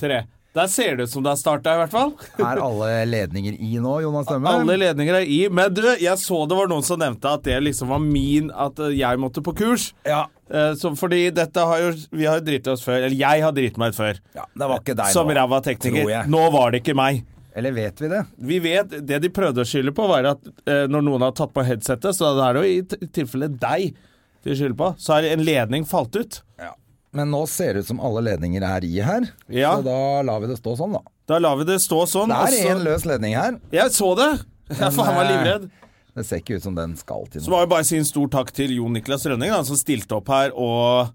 Tre. Der ser det ut som det har starta, i hvert fall. Er alle ledninger i nå, Jonas Dømme? Alle ledninger er i. Men du, jeg så det var noen som nevnte at det liksom var min At eh, jeg måtte på kurs. Ja. Eh, Så fordi dette har jo Vi har jo driti oss før. Eller jeg har driti meg ut før. ja. Det var ikke deg Som nå. ræva tror tekniker. jeg. Nå var det ikke meg. Eller vet vi det? Vi vet, Det de prøvde å skylde på, var at eh, når noen har tatt på headsetet, så er det jo i t- tilfelle deg de skylder på, så har en ledning falt ut. Men nå ser det ut som alle ledninger er i her, Ja. så da lar vi det stå sånn, da. Da lar vi det stå sånn. Det og er så- én løs ledning her. Jeg så det! Jeg faen meg eh, livredd. Det ser ikke ut som den skal til Så noe. må jeg bare si en stor takk til Jon Niklas Rønning, da, som stilte opp her og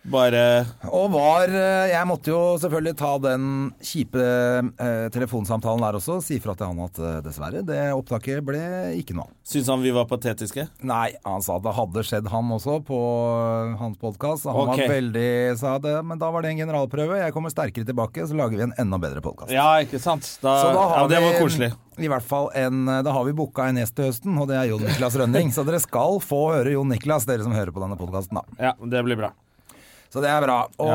bare Og var eh, Jeg måtte jo selvfølgelig ta den kjipe eh, telefonsamtalen der også. Si fra til han at eh, dessverre, det opptaket ble ikke noe av. syntes han vi var patetiske. Nei, han sa at det hadde skjedd han også på eh, hans podkast. Han Ok. var veldig sa det, men da var det en generalprøve. Jeg kommer sterkere tilbake, så lager vi en enda bedre podkast. Ja, ikke sant? Da, Så da ja, har det vi var koselig. I hvert fall en, da har vi booka en gjest til høsten, og det er Jon Niklas Rønning. Så dere skal få høre Jon Niklas, dere som hører på denne podkasten, da. Ja, Det blir bra. Så det er bra. Og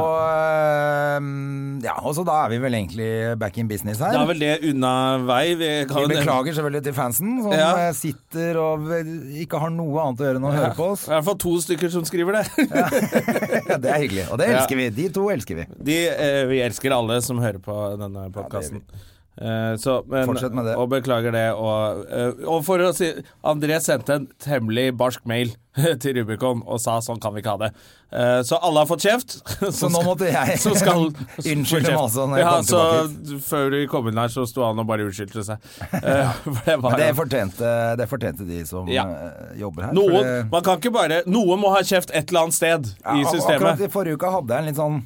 øhm, ja, og så da er vi vel egentlig back in business her. Da er vel det unna vei. Vi kan vi jo nevne- beklager selvfølgelig til fansen, som Ja. eh, sitter og vel ikke har noe annet å gjøre enn å høre på oss. I hvert fall to stykker som skriver det. Ja, det er hyggelig, og det Ja. elsker vi. De to elsker vi. De, eh, vi elsker alle som hører på denne podkasten. Eh, så, men- Fortsett med det. Og beklager det. Og, eh, og for å si André sendte en temmelig barsk mail til Rubicon og sa sånn kan vi ikke ha det. Eh, så alle har fått kjeft. Så nå måtte jeg så skal, unnskylde masse når jeg ja, kom tilbake hit. så Før du kom inn her, så sto han og bare unnskyldte seg. Eh, for det var Men det fortjente, det fortjente de som Ja. eh, jobber her. for noen, det- man kan ikke bare Noen må ha kjeft et eller annet sted i Ja, ak- systemet. Akkurat i forrige uka hadde jeg en litt sånn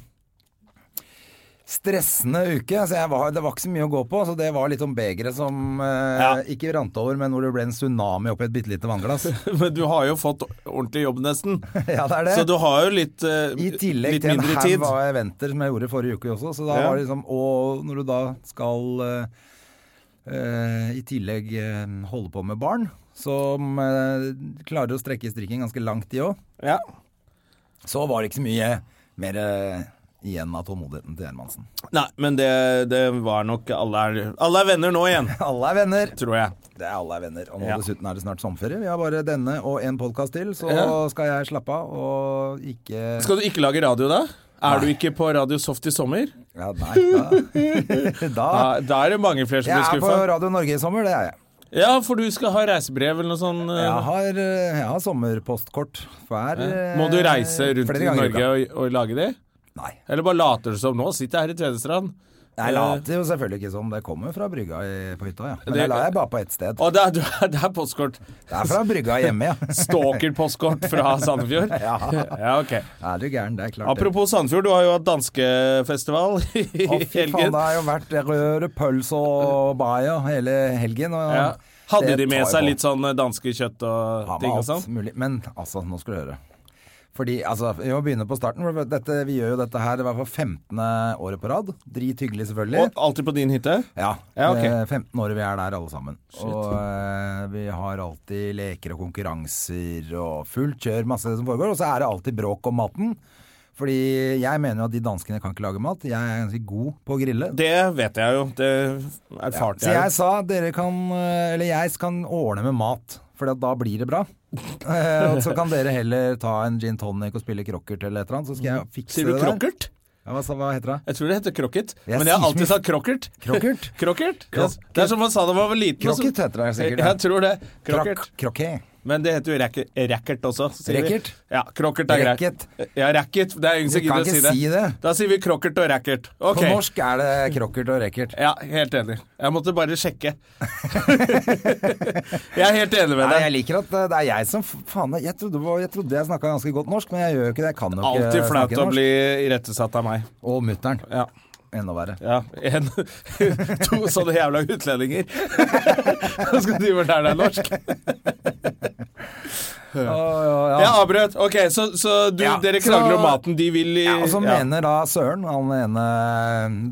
stressende uke. Så jeg var, det var ikke så mye å gå på. Så det var litt om begeret som eh, Ja. ikke rant over, men hvor det ble en tsunami oppi et bitte lite vannglass. Men du har jo fått ordentlig jobb, nesten. ja, det er det. Så du har jo litt, eh, I tillegg litt til en mindre tid. haug av eventer som jeg gjorde forrige uke også. Så da Ja. var det liksom Og når du da skal eh, eh, i tillegg eh, holde på med barn, som eh, klarer å strekke strikken ganske langt, de òg, Ja. så var det ikke så mye mer eh, igjen av tålmodigheten til Hermansen. Nei, men det, det var nok alle er, alle er venner nå igjen, Alle er venner! tror jeg. Det er alle er venner. Og nå Ja. dessuten er det snart sommerferie. Vi har bare denne og en podkast til, så Ja. skal jeg slappe av og ikke Skal du ikke lage radio da? Er du ikke på Radio Soft i sommer? Ja, nei, da, da. Da, da er det mange flere som Ah. Jeg blir er på skuffa. Radio Norge i sommer, det er jeg. Ja, for du skal ha reisebrev eller noe sånt. eh, Jeg har, eh, jeg har sommerpostkort hver eh, Må du reise rundt flere i ganger Norge uka. og, og lage de? Nei. Eller bare later du som nå? Sitter jeg her i Tvedestrand. Jeg later jo selvfølgelig ikke som det kommer fra brygga i, på hytta, ja. Men Det- det la jeg bare på ett sted. Og det er, du er- det er postkort. Det er fra brygga hjemme, ja. Stalker-postkort fra Sandefjord? Ja. ja, ok. Er du gæren, det er klart. det. Apropos Sandefjord, du har jo hatt danskefestival i Å, fy faen, helgen. det har jo vært røde pølser og bayer hele helgen. Og Ja. Hadde det de med tar seg jo på. litt sånn danskekjøtt og Ja, med ting og alt sånn? mulig. Men altså, nå skal du høre. Fordi, altså, Vi må begynne på starten. for Dette, vi gjør jo dette her i hvert fall 15. året på rad. Drithyggelig, selvfølgelig. Og alltid på din hytte? Ja, Ja, ok. det er 15 året vi er der alle sammen. Og eh, vi har alltid leker og konkurranser og fullt kjør, masse som foregår. Og så er det alltid bråk om maten. Fordi jeg mener jo at de danskene kan ikke lage mat. Jeg er ganske god på å grille. Det vet jeg jo. Det erfarte Så jeg jeg jo. sa dere kan eh, Eller jeg kan ordne med mat, for da blir det bra. Eh, og så kan dere heller ta en gin tonic og spille crockert eller et eller annet, så skal jeg fikse Sier du det der. krokkert? Ja, hva, sa- hva heter det? Jeg tror det heter krokket, Jeg men jeg har sier alltid mye- sagt krokkert. Crockert? Krokkert? Det er som man sa da man var liten. og så- Krokket heter det sikkert, ja. Jeg tror det. Krokkert. Krokket. Men det heter jo racket, racket også. sier vi. Racket? Ja, krokkert er greit. Racket. Ja, racket. Det er ingen som Du gidder kan å si ikke det. si det. Da sier vi krokkert og racket. Ok. På norsk er det krokkert og racket. Ja, helt enig. Jeg måtte bare sjekke. jeg er helt enig med Nei, deg. jeg liker at eh, det er jeg som Faen, jeg trodde, det var- jeg, trodde jeg snakka ganske godt norsk, men jeg gjør jo ikke det. Jeg kan jo ikke Alltid flaut å snakke norsk. bli irettesatt av meg. Og mutter'n. Ja. Enda verre. ja. En, to sånne jævla utlendinger. Så skal de vel lære deg norsk. Jeg avbrøt. Ok, så, så du, Ja, dere så- krangler om maten. De vil i Ja, og så ja. mener da Søren, han ene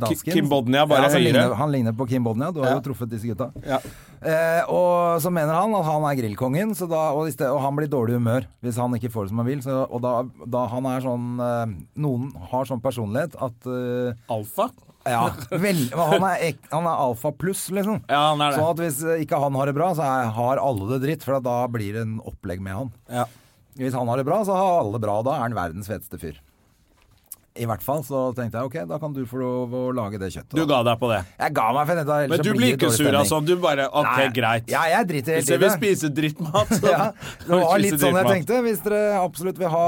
dansken Kim Bodnia, bare som høyere. Ligner, han ligner på Kim Bodnia, du har Ja. jo truffet disse gutta. Ja. Eh, og så mener han at han er grillkongen, så da, og, i sted, og han blir i dårlig humør hvis han ikke får det som han vil. Så, og da, da han er sånn eh, Noen har sånn personlighet at eh, Alfa? Ja, vel, han er, ek, han er alfa pluss, liksom. Ja, han er det. Sånn at hvis eh, ikke han har det bra, så er, har alle det dritt, for da blir det en opplegg med han. Ja. Hvis han har det bra, så har alle det bra. Da er han verdens feteste fyr. I hvert fall så tenkte jeg ok, da kan du få lov å lage det kjøttet. Du da. ga deg på det. Jeg ga meg for dette, ellers Men så du det blir ikke dårlig sur av stemning. sånn. Du bare OK, Nei. greit. Ja, jeg driter helt Hvis jeg i vil det. spise drittmat, så Ja, det var litt Spise sånn jeg drittmat. tenkte. Hvis dere absolutt vil ha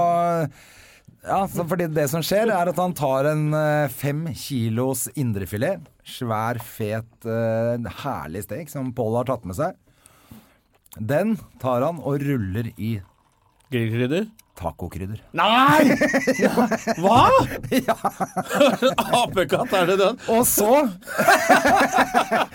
Ja, så fordi det som skjer, er at han tar en eh, fem kilos indrefilet. Svær, fet, eh, herlig stek som Pål har tatt med seg. Den tar han og ruller i Grillkrydder? tacokrydder. Nei! Hva? Ah! Apekatt, er det den? Og så Hva?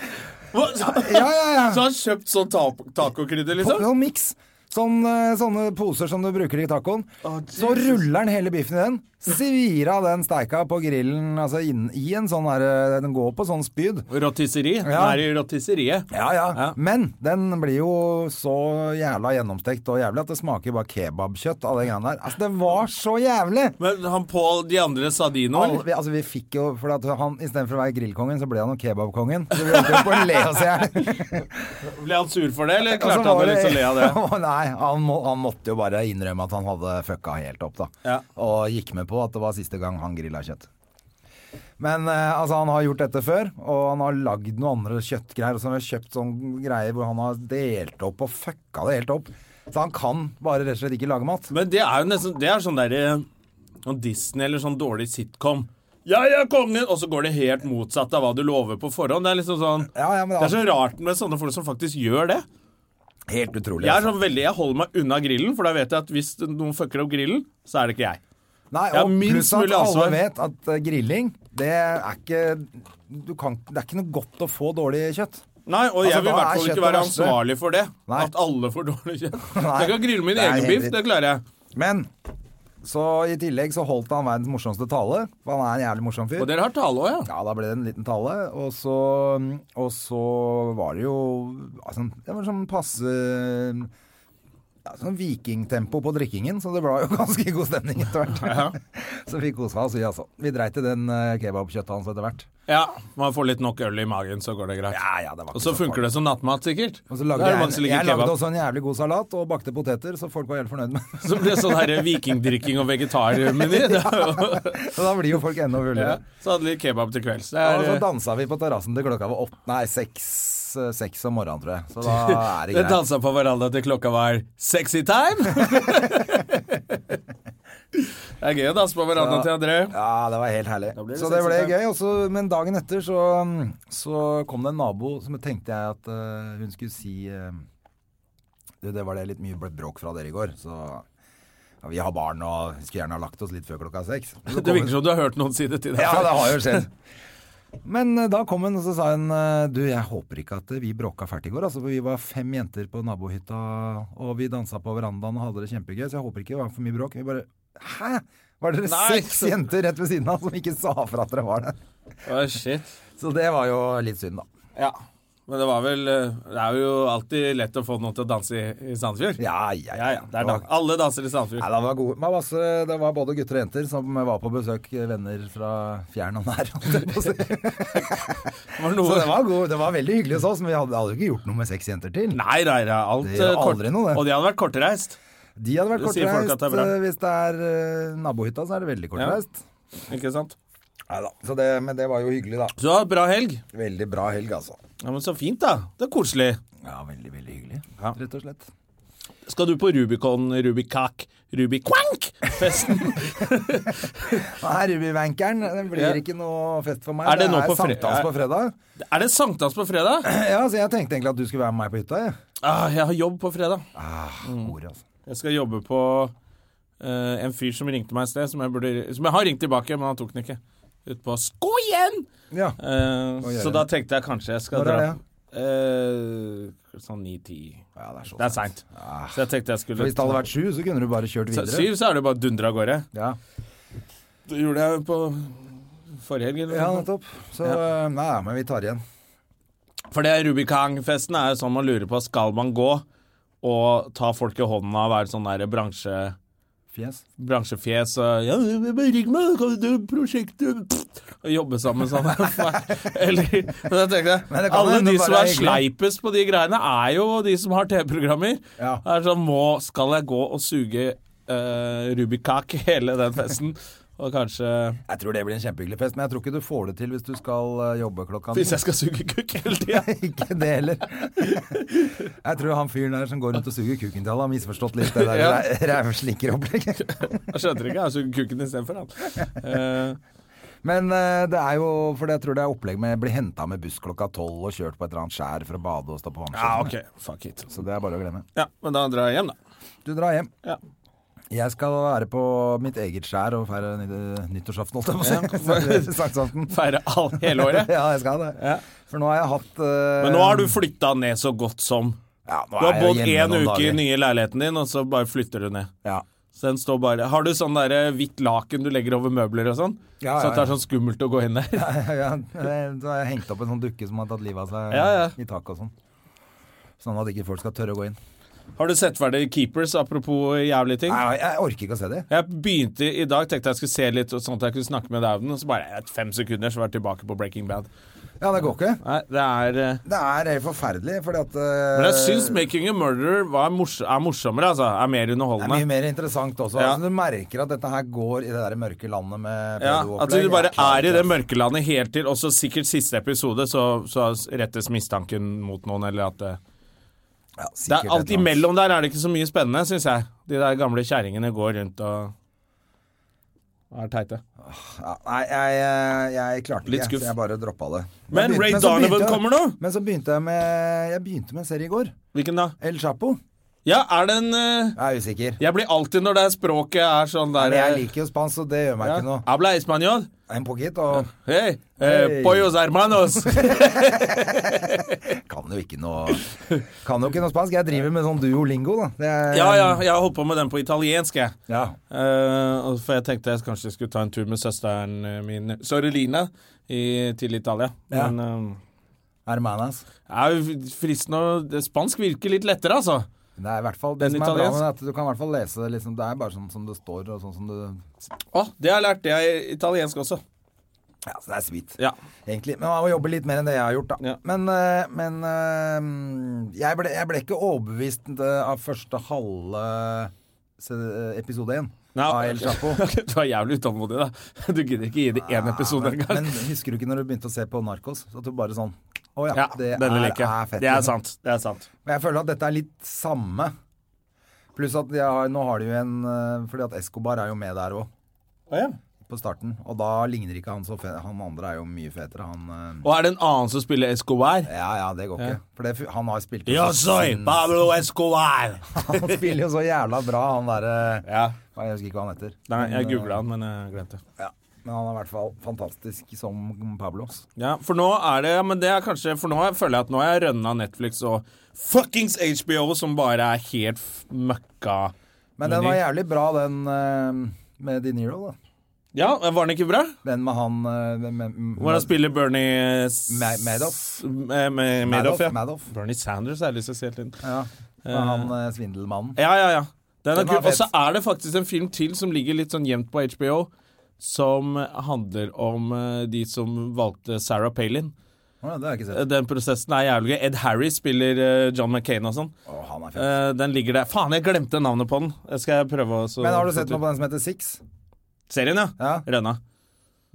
Så Ja, ja, ja. han har kjøpt sånn ta- tacokrydder, liksom? Sånn mix. Sånn, eh, sånne poser som du bruker i tacoen. så ruller han hele biffen i den. Svir av den steika på grillen, altså inn, i en sånn der, eh, Den går på sånn spyd. Rotisseri? Den Ja. er i rotisseriet. Ja, ja, Ja. Men den blir jo så jævla gjennomstekt og jævlig at det smaker bare kebabkjøtt av det greiene der. Altså, det var så jævlig! Men han Pål, de andre sa de noe? Alle, eller? vi, altså, vi fikk jo For at han istedenfor å være grillkongen, så ble han jo kebabkongen. Så vi holdt jo på å le oss i hjel. Ble han sur for det, eller Og så klarte han Altså, å var liksom le av det? Nei, han, må, han måtte jo bare innrømme at han hadde fucka helt opp, da. Ja. Og gikk med på at det var siste gang han grilla kjøtt. Men eh, altså, han har gjort dette før, og han har lagd noen andre kjøttgreier. Og så har han kjøpt sånn greier hvor han har delt opp og fucka det helt opp. Så han kan bare rett og slett ikke lage mat. Men det er jo nesten Det er sånn derre Sånn Disney eller sånn dårlig sitcom. Jeg er kongen! Og så går det helt motsatt av hva du lover på forhånd. Det er liksom sånn Ja, ja, men Det er så rart med sånne folk som faktisk gjør det. Helt utrolig. Jeg er altså. sånn veldig, jeg holder meg unna grillen, for da vet jeg at hvis noen fucker opp grillen, så er det ikke jeg. Nei, Jeg har og minst pluss at mulig alle ansvar. vet at eh, grilling, det er ikke du kan, Det er ikke noe godt å få dårlig kjøtt. Nei, og Altså, jeg vil i da hvert er fall kjøttet ikke være verste. ansvarlig for det. Nei. At alle får dårlig kjøtt. Nei. Jeg kan grille min Det er egen helt biff, vilt. det klarer jeg. Men så i tillegg så holdt han verdens morsomste tale. For han er en jævlig morsom fyr. Og dere har tale òg, ja. Ja, da ble det en liten tale, og så, og så var det jo altså, Det var sånn passe ja, Sånn vikingtempo på drikkingen, så det ble jo ganske god stemning etter hvert. så vi kosa oss, vi altså. Vi dreit i den eh, kebabkjøttet hans etter hvert. Ja, Man får litt nok øl i magen, så går det greit. Ja, ja, det var Og så funker det som nattmat, sikkert. Og så lagde Da er det jeg, mange som en, liker jeg lagde kebab. også en jævlig god salat og bakte poteter, så folk var helt fornøyd med Så blir det sånn her vikingdrikking og vegetarmeny. Det er jo- Så da blir jo folk enda Ja. fullere. Så hadde de kebab til kvelds. Det Og er, så eh, dansa vi på terrassen til klokka var åtte, nei, seks, eh, seks om morgenen, tror jeg. Så da er det det greit. dansa på veranda til klokka var sexy time. det er gøy å danse på verandaen til André. Ja, det var helt herlig. Da blir det så det ble 65. gøy. Og så- men dagen etter så, så kom det en nabo som tenkte jeg at eh, hun skulle si eh, Du, det var det litt mye bråk fra dere i går, så ja, Vi har barn og skulle gjerne ha lagt oss litt før klokka seks. Så Det kom hun- virker som du har hørt noen si det til deg. Ja, før. det har jo skjedd. Men eh, da kom hun og så sa hun eh, Du, jeg håper ikke at eh, vi bråka fælt i går, altså, for vi var fem jenter på nabohytta, og vi dansa på verandaen og hadde det kjempegøy, så jeg håper ikke det var for mye bråk. Vi bare Hæ? Var dere Nei, seks så- jenter rett ved siden av som ikke sa fra at dere var der? Å, shit. Så det var jo litt synd, da. Ja. Men det var vel eh, Det er jo alltid lett å få noen til å danse i, i Sandefjord. Ja, ja, ja, ja. Det er da. var- Alle danser i Sandefjord. Nei, det, var gode. det, var masse, det var både gutter og jenter som var på besøk, eh, venner fra fjern og nær. holdt jeg på å si. Det var Så noe... det var, god, det var veldig hyggelig hos oss, men vi hadde, hadde jo ikke gjort noe med seks jenter til. Nei, nei, nei. Alt, Det gjør eh, kort... aldri noe, det. Og de hadde vært kortreist. De hadde vært Det sier folk kortreist. at det er bra. eh, Hvis det er eh, nabohytta, så er det veldig kortreist. Ikke sant? Neida. Så det, men det var jo hyggelig, da. Så bra helg. Veldig bra helg, altså. Ja, men Så fint, da. Det er koselig. Ja, veldig, veldig hyggelig. Ja. Rett og slett. Skal du på Rubicon, Rubikak, Rubikwank-festen? Nei, Rubivankeren, det blir Ja. ikke noe fest for meg. Er det nå på fre- sankthans på fredag. er det sankthans på fredag? Ja, så jeg tenkte egentlig at du skulle være med meg på hytta, jeg. Ah, jeg har jobb på fredag. Ah, Mm. hore, altså. Jeg skal jobbe på eh, en fyr som ringte meg et sted, som jeg, burde, som jeg har ringt tilbake, men han tok den ikke. Ut på Skoien! Ja. Eh, Hva gjør så jeg? da tenkte jeg kanskje jeg skal Når er dra Eh, Sånn 9-10. ja, det er så Det er seint. Ah. Så jeg tenkte jeg skulle For hvis det hadde vært sju, så kunne du bare kjørt så, videre. Syv, så er det bare å dundre av gårde. Ja. Det gjorde jeg på forrige helg. eller ja, noe sånt. nettopp. Så eh, nei, ja, men vi tar igjen. For det Rubicang-festen er jo sånn man lurer på Skal man gå og ta folk i hånda og være sånn der bransje, Fjes. bransjefjes og ja, bare ring meg, kan du prosjektet Og jobbe sammen sånn. Eller Men jeg tenkte, Men det kan Alle hende de bare som er er hyggelig. sleipest på de greiene, er jo de som har TV-programmer. Ja. Det er sånn må, Skal jeg gå og suge uh, Rubicak hele den festen? Og kanskje Jeg tror det blir en kjempehyggelig fest, men jeg tror ikke du får det til hvis du skal eh, jobbe klokka Hvis jeg skal suge kukk hele tida. Ikke det heller. Jeg tror han fyren der som går rundt og suger kuken til alle, har misforstått litt det der Ja. ræ- rævslinkeropplegget. Jeg skjønte ikke. Jeg suger kukken istedenfor, han. Eh, Men eh, det er jo For jeg tror det er opplegg med bli henta med buss klokka tolv og kjørt på et eller annet skjær for å bade og stå på vannsjøen. Ja, ok. Fuck it. Så det er bare å glemme. Ja, men da drar jeg hjem, da. Du drar hjem. Ja. Jeg skal være på mitt eget skjær og feire ny- nyttårsaften, holdt jeg på å Ja. si. Sankthansaften. Feire all, hele året. Ja, jeg skal det. Ja. For nå har jeg hatt eh, Men nå har du flytta ned så godt som. ja, nå Du har er jeg bodd hjemme én noen uke i dager. den nye leiligheten din, og så bare flytter du ned. Ja. Så den står bare Har du sånn derre hvitt laken du legger over møbler og sånn? Ja, Så ja, at det er ja. sånn skummelt å gå inn der? ja, det- så har jeg hengt opp en sånn dukke som har tatt livet av seg Ja, ja. i taket og sånn. Sånn at ikke folk skal tørre å gå inn. Har du sett ferdig Keepers, apropos jævlige ting? Nei, jeg orker ikke å se det. Jeg begynte i dag, tenkte jeg skulle se litt, og sånn at jeg kunne snakke med deg om den, og så bare eh, fem sekunder, så var jeg tilbake på Breaking Bad. Ja, det går ikke. Nei, det er eh, Det er helt forferdelig, fordi at Men Men jeg syns 'Making a Murderer' var mors er morsommere, altså. Er mer eh, det er underholdende. mye mer interessant også. Ja. Altså, du merker at dette her går i det der mørke landet med Ja, at pedo-opplegg. du bare klart, er i det altså. mørkelandet helt til også sikkert siste episode, så, så rettes mistanken mot noen, eller at eh, det, Ja, det er sikkert et Alt eller annet. imellom der er det ikke så mye spennende, syns jeg. De der gamle kjerringene går rundt og er teite. Ja, nei, jeg, jeg, jeg klarte Litt ikke, skuff. så jeg bare droppa det. Men Jeg begynte- Ray så begynte Donovan jeg- kommer nå. Men så begynte jeg med Jeg begynte med en serie i går. Hvilken da? El Chapo. Ja, er det en eh, Jeg er usikker. Jeg blir alltid når det er språket er sånn der Men jeg eh, liker jo spansk, så det gjør meg ja. ikke noe. Habla español? En pocket, og Hey, eh, Hey. pollos hermanos. kan jo ikke noe Kan jo ikke noe spansk. Jeg driver med sånn duolingo, da. Det er, Ja, ja, jeg har holdt på med den på italiensk, jeg. Ja. Eh, og for jeg tenkte jeg kanskje skulle ta en tur med søsteren eh, min, Sorelina, i, til Italia. Ja. Men Hermanas. eh, det er jo fristende å det- Spansk virker litt lettere, altså. Det er i hvert fall det En som er bra italiensk. med det, at du kan i hvert fall lese det liksom, Det er bare sånn som det står, og sånn som du Å, det har jeg lært. Det er italiensk også. Ja, så det er sweet. Ja. Egentlig. Men man må jobbe litt mer enn det jeg har gjort, da. Ja. Men, eh, men eh, jeg, ble, jeg ble ikke overbevist eh, av første halve se- episode én Nei, av El Chapo. du er jævlig utålmodig, da. Du gidder ikke gi det én episode men, engang. men husker du ikke når du begynte å se på Narkos? At du bare sånn Å ja, Ja, det denne er, liker jeg. er fett. Det liksom. er sant. Det er sant. Men jeg føler at dette er litt samme. Pluss at jeg har, nå har de jo en eh, Fordi at Escobar er jo med der òg, Å, ja. på starten. Og da ligner ikke han så fe Han andre er jo mye fetere, han eh, Og er det en annen som spiller Escobar? Ja ja, det går ikke. For det, fu- han har spilt Yo soy Pablo Escobar! Han spiller jo så jævla bra, han derre Ja. Jeg husker ikke hva han heter. Nei, jeg Men, eh, googla han, men jeg glemte. ja. Men han er i hvert fall fantastisk som Pablos. Ja, for nå er det ja, Men det er kanskje For nå føler jeg at nå har jeg rønna Netflix og fuckings HBO, som bare er helt f- møkka. Men den var jævlig bra, den eh, med De Niro, da. Ja, var den ikke bra? Den med han eh, med, med, Hvor han spiller Bernie S- Ma- Madoff. Ma- Ma- Madoff, Madoff, ja. Madoff. Bernie Sanders har jeg lyst til å se helt inn. Ja, med han eh, svindelmannen. Ja, ja, ja. Den er Den var kul. Og så fet. er det faktisk en film til som ligger litt sånn gjemt på HBO, som handler om eh, de som valgte Sarah Palin. Å, ja, det har jeg ikke Eh, sett. Den prosessen er jævlig gøy. Ed Harry spiller eh, John McCain og sånn. Å, han er fet. Eh, den ligger der. Faen, jeg glemte navnet på den. Jeg skal prøve å så- Men har du sett noe på den som heter Six? Serien, ja. Ja. Rønna.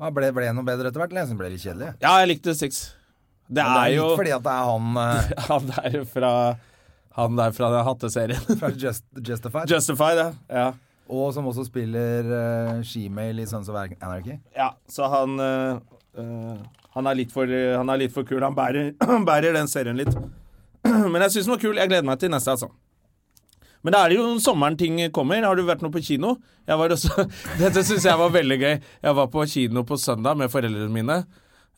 Ja, Ble, ble det noe bedre etter hvert? eller? Jeg synes det ble litt kjedelig. Ja, jeg likte Six. Det Men er litt jo fordi at det er han eh, Han der fra Han der fra den hatteserien. Fra Just, Justified. Justified, ja. ja. Og som også spiller uh, Shemale i Sons of Anarchy. Ja, så han øh, øh, han, er litt for, han er litt for kul. Han bærer, han bærer den serien litt. Men jeg syns den var kul. Jeg gleder meg til neste, altså. Men det er jo sommeren ting kommer. Har du vært noe på kino? Jeg var også, dette syns jeg var veldig gøy. Jeg var på kino på søndag med foreldrene mine.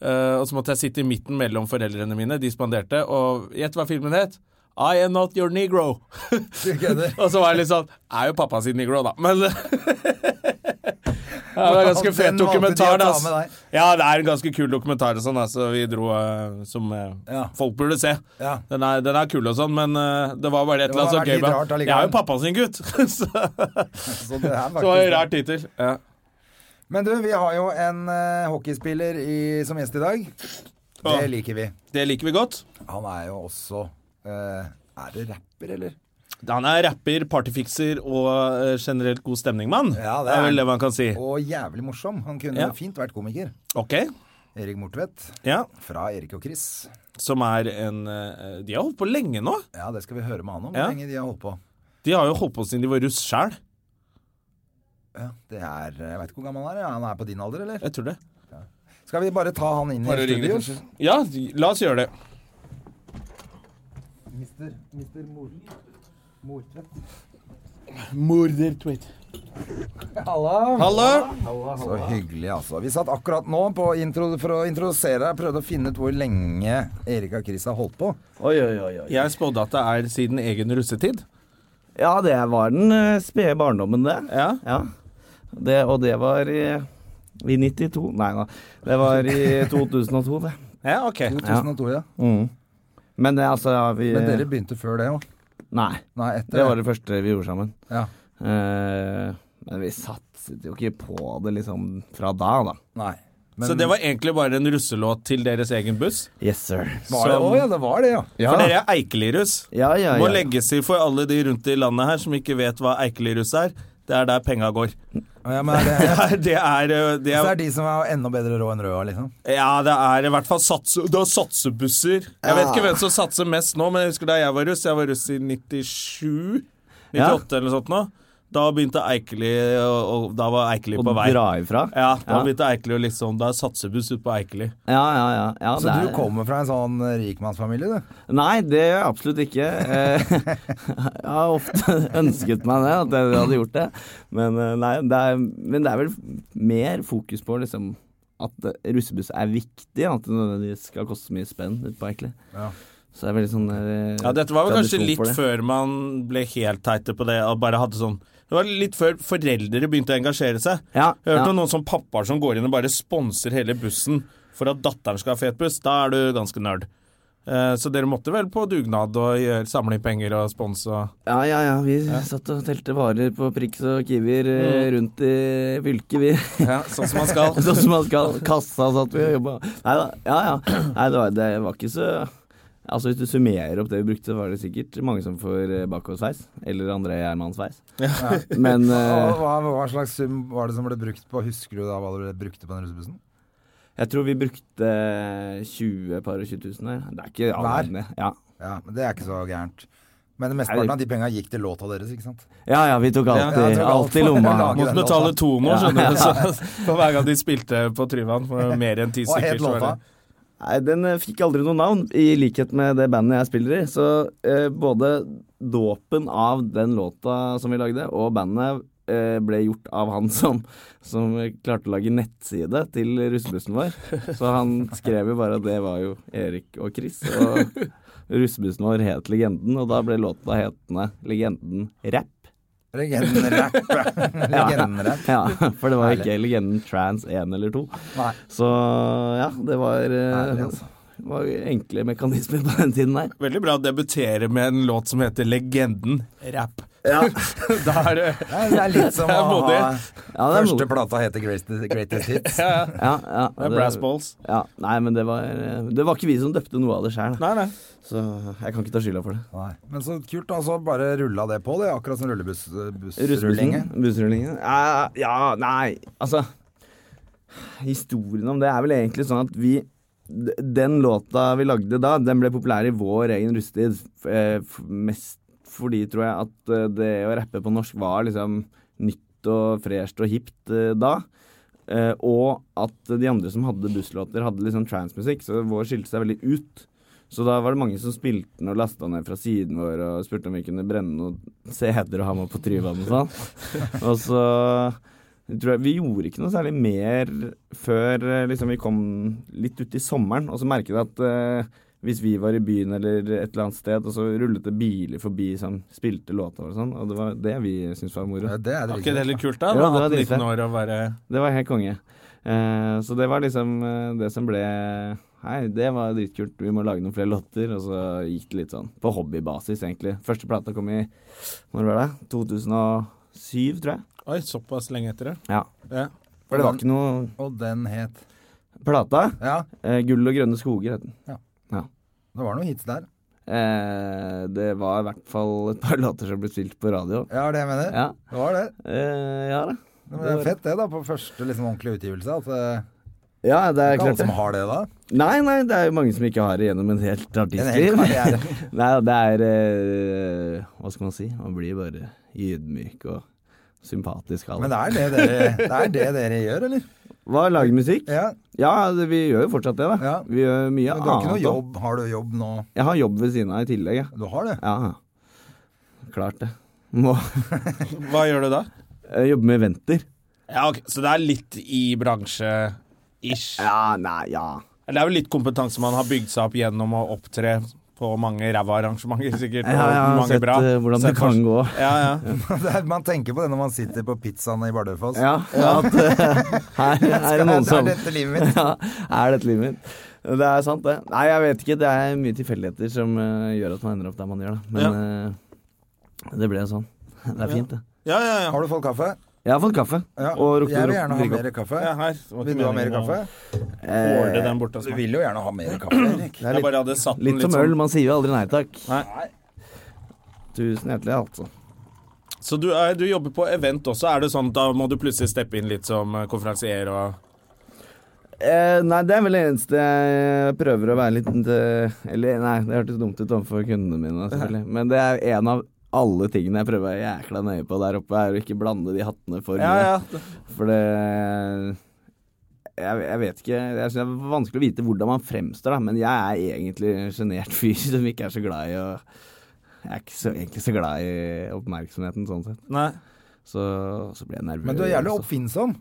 eh, og så måtte jeg sitte i midten mellom foreldrene mine. De spanderte. Og gjett hva filmen het? I am not your negro. kødder. og så var jeg litt sånn Er jo pappa sin negro, da. Men Ja, det var ganske Den fet valgte de å dokumentar. Da. ta med deg. Ja, det er en ganske kul dokumentar og sånn, da, så vi dro eh, som eh, Ja. folk burde se. Ja. Den, er, den er kul og sånn, men eh, det var bare et Det eller annet må ha sånn vært gøy. litt rart med- allikevel. Jeg er jo pappa sin gutt, så, Så så var det er det faktisk- en rar tittel. Ja. Men du, vi har jo en eh, hockeyspiller i, som gjest i dag. Ja. Det liker vi. Det liker vi godt. Han er jo også eh, Er det rapper, eller? Han er rapper, partyfikser og eh, generelt god stemningmann. Ja, det det er er han. vel det man kan si. Og jævlig morsom. Han kunne Ja. fint vært komiker. Ok, Erik Mortvedt. ja, Fra Erik og Chris. Som er en eh, De har holdt på lenge nå. Ja, det skal vi høre med han om. Ja. Hvor lenge de har holdt på. De har jo holdt på siden de var russ sjæl. Ja, det er, Jeg veit ikke hvor gammel han er. ja. Han er på din alder, eller? Jeg tror det. Skal vi bare ta han inn i studio? Ja, la oss gjøre det. Mister, mister Mor Mortvedt. Mordertweet. Halla! Hallo! Så hyggelig, altså. Vi satt akkurat nå på intro, for å introdusere deg, prøvde å finne ut hvor lenge Erik og Chris har holdt på. Oi, oi, oi. oi. Jeg spådde at det er siden egen russetid. Ja, det var den eh, spede barndommen, det. Ja. Det, og det var i, i 92 Nei da. Det var i 2002, det. ja, ok. 2002, ja. Mm. Men det, altså ja, vi Men dere begynte før det òg? Nei. Nei, etter Det var det første vi gjorde sammen. Ja. Eh, men vi satset jo ikke på det liksom fra da, da. Nei. Men, Så det var egentlig bare en russelåt til deres egen buss? Yes, sir. var det, som- Å ja, det var det, ja. Ja, For dere er Eikeli-russ. ja, ja. Må ja. legges i for alle de rundt i landet her som ikke vet hva Eikeli-russ er. Det er der penga går. Å, ja men er det, Det er, eh, det så er er de som har enda bedre råd enn røda, liksom. Ja, det er i hvert fall sats, det er satsebusser. Jeg vet Ah. ikke hvem som satser mest nå, men jeg husker da jeg var russ. Jeg var russ i 97? 98 Ja. eller noe sånt nå. Da begynte Eikeli og, og Da var Eikeli Og på vei. dra ifra. Ja, da Ja. begynte Eikeli å liksom Da er satsebuss ute på Eikeli. ja, ja. ja. ja Så du det er- kommer fra en sånn eh, rikmannsfamilie, du? Nei, det gjør jeg absolutt ikke. Eh, Jeg har ofte ønsket meg det, at jeg hadde gjort det. Men, eh, nei, det er, men det er vel mer fokus på liksom, at eh, russebuss er viktig, at det nødvendigvis skal koste så mye spenn utpå Eikeli. Ja. Så det er veldig sånn der, eh, Ja, dette var vel kanskje tradisjon litt for det. før man ble helt teite på det og bare hadde sånn Det var litt før foreldre begynte å engasjere seg. Ja, Jeg hørte ja. om noen sånn pappaer som går inn og bare sponser hele bussen for at datteren skal ha fet buss. Da er du ganske nerd. Eh, Så dere måtte vel på dugnad og gjøre- samle inn penger og sponse og Ja, ja, ja. Vi satt og telte varer på Prix og Kiwier eh, Mm. rundt i fylket, vi. sånn som man skal. sånn som man skal. Kassa satt vi og jobba. Nei da. Ja, ja. Nei, det var, det var ikke så Altså Hvis du summerer opp det vi brukte, så var det sikkert mange som får eh, bakoversveis. Eller André Gjermannsveis. Men Og eh, Hva, hva slags sum var det som ble brukt på Husker du da hva du brukte på den russebussen? jeg tror vi brukte 20 par og 20 000 her. Det er ikke all Hver? verden, det. Ja. Ja, men det er ikke så gærent. Men Nei, det- mesteparten av de penga gikk til låta deres, ikke sant? ja ja, vi tok Ja, jeg alltid, tror alt- alt i lomma. Lager Måtte den låta. betale to nå, Ja. skjønner du. Så, for hver gang de spilte på Tryvann for mer enn ti Hva stykker. het så var låta? det- Nei, den eh, fikk aldri noe navn, i likhet med det bandet jeg spiller i. Så eh, både dåpen av den låta som vi lagde, og bandet eh, ble gjort av han som, som klarte å lage nettside til russebussen vår. Så han skrev jo bare at det var jo Erik og Chris. Og russebussen vår het Legenden, og da ble låta hetende Legenden Rap. Legendrapp. Legendrapp. Ja, for det var ikke Legenden Trans 1 eller 2. Nei. Så ja, det var, eh, Herlig, altså. var enkle mekanismer på den tiden der. Veldig bra å debutere med en låt som heter Legenden rap. da er det Nei, Det er litt som Det er å modig. ha Ja, det er Første modig. plata heter Greatest, Greatest Hits. Ja, ja, Det er brass balls. Ja, nei, men det var, eh, det var ikke vi som døpte noe av det sjøl, Nei, nei. så jeg kan ikke ta skylda for det. Nei. Men så kult, da. Så bare rulla det på, det. Akkurat som rullebussrullingen. Russebussen? Bussrullingen? Ja, ja, nei, altså Historien om det er vel egentlig sånn at vi d- den låta vi lagde da, den ble populær i vår egen russetid. F- eh, f- Mest fordi, tror jeg, at eh, det å rappe på norsk var liksom nytt og fresht og hipt eh, da. Eh, og at de andre som hadde busslåter, hadde litt sånn transmusikk, så vår skilte seg veldig ut. Så da var det mange som spilte den og lasta ned fra siden vår og spurte om vi kunne brenne noen CD-er og ha med på Tryvann og sånn. og så tror jeg, Vi gjorde ikke noe særlig mer før eh, liksom, vi kom litt ut i sommeren, og så merket jeg at eh, hvis vi var i byen eller et eller annet sted, og så rullet det biler forbi som spilte låter og sånn, og det var det vi syntes var moro. Ja, det er det Var ikke det riktig. litt kult, da? Ja, det var 18-19 dritfett. år og være Det var helt konge. Eh, så det var liksom eh, det som ble Hei, det var dritkult, vi må lage noen flere låter. Og så gikk det litt sånn på hobbybasis, egentlig. Første plata kom i når var det? 2007, tror jeg. Oi, såpass lenge etter det. Ja. Ja. For det var ikke noe Og den het Plata. Ja, Eh, 'Gull og grønne skoger' het den. det var noen hits der. Eh, det var i hvert fall et par låter som ble spilt på radio. Ja, det jeg mener. Ja, Det var det. eh, ja da. Men det er fett det, da, på første liksom, ordentlige utgivelse. At eh, Ja, det er ikke alle klart. som det. har det da. Nei, nei, det er jo mange som ikke har det gjennom en helt En hel artistliv. karriere. Nei, og det er eh, Hva skal man si? Man blir bare ydmyk og sympatisk. Alle. Men det er det dere, det er det dere gjør, eller? Hva er lagmusikk? Ja. Ja, det, vi gjør jo fortsatt det, da. Ja. Vi gjør mye Men du har ikke annet. noe da. jobb? Har du jobb nå? Jeg har jobb ved siden av i tillegg, ja. Du har det? ja. Klart det. Må Hva gjør du da? Jeg jobber med venter. Ja, ok, Så det er litt i bransje-ish. Ja, nei, ja. Det er vel litt kompetanse man har bygd seg opp gjennom å opptre på mange ræva arrangementer, sikkert. Jeg har, jeg og har mange sett bra. eh, hvordan det Sett kan for- gå. Ja, ja. Det er- Man tenker på det når man sitter på pizzaen i Bardufoss. Ja, at eh, her er det noen Det er som dette livet mitt. ja, er dette livet mitt? Det er sant, det. Nei, jeg vet ikke. Det er mye tilfeldigheter som eh, gjør at man ender opp der man gjør, da. Men eh, det ble sånn. Det er fint, det. ja, ja, ja. Har du fått kaffe? Jeg har fått kaffe. Ja. Og rukket jeg vil å gjerne ha drikke opp. mer kaffe. ja her. Det var ikke Vil du ha mer meningen å kaffe? ordne den bort hos Du meg. vil jo gjerne ha mer kaffe, Erik. Eh, Det er Jeg litt, bare hadde satt den sånn. litt som sånn- øl. Man sier jo aldri nei takk. Nei. Tusen hjertelig, altså. Så du, er, du jobber på event også. Er det sånn da må du plutselig steppe inn litt som eh, konferansier og Eh, nei, det er vel det eneste jeg prøver å være litt eh, Eller nei, det hørtes dumt ut overfor kundene mine, selvfølgelig. Men det er en av alle tingene jeg prøver å være jækla nøye på der oppe, er å ikke blande de hattene for mye. For det jeg, jeg vet ikke Jeg synes det er vanskelig å vite hvordan man fremstår, da. Men jeg er egentlig en sjenert fyr som ikke er så glad i å Jeg er ikke så, egentlig så glad i oppmerksomheten, sånn sett. Nei. Så, så blir jeg nervøs. Men du er jævlig også. oppfinnsom.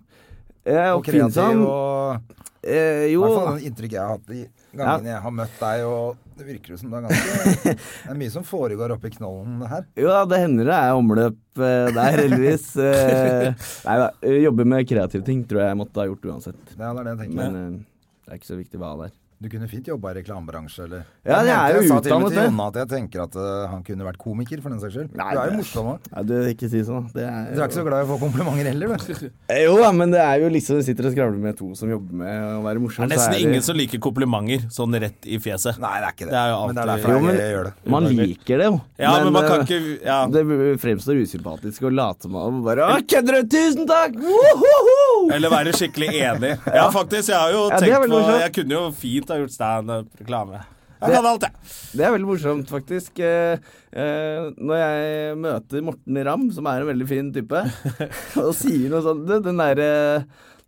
Jeg er Og kreativ oppfinnsom. og Eh, I jo. hvert fall det inntrykket jeg har hatt de gangene jeg har møtt deg, og det virker jo som det er ganske Det er mye som foregår oppi knollen her. Jo da, det hender det er omløp eh, der, heldigvis. Eh, Nei da. Jobbe med kreative ting tror jeg jeg måtte ha gjort uansett. Det er det jeg tenker. Men eh, det er ikke så viktig hva det er. Du kunne fint jobba i reklamebransje, eller? Ja, jeg nevnte- er jo sa til og med utdannet til det. Jonna at jeg tenker at eh, han kunne vært komiker, for den saks skyld. Nei, du er det- jo morsom òg. Nei, du, ikke si sånn. da. Det er, Dere er ikke så glad i å få komplimenter heller, du. Eh, Jo da, men det er jo liksom Du sitter og skravler med to som jobber med å være Det morsom. er nesten så er det- ingen som liker komplimenter sånn rett i fjeset. Nei, det er ikke det. Det er jo men det er alltid- derfor Jo, jeg men- gjør det. Man liker det jo. Ja, men, man kan eh, ikke ja. Det fremstår usympatisk å late som om bare Å, kødder du? Tusen takk! Wohoho! Eller være skikkelig enig. Ja, faktisk. Jeg har jo Ja, det er tenkt veldig på morsomt. Jeg kunne jo fint ha gjort standup-reklame. Jeg Det- kan alt, jeg. Det er veldig morsomt, faktisk. Eh, eh, når jeg møter Morten Ramm, som er en veldig fin type, og sier noe sånt du, Den derre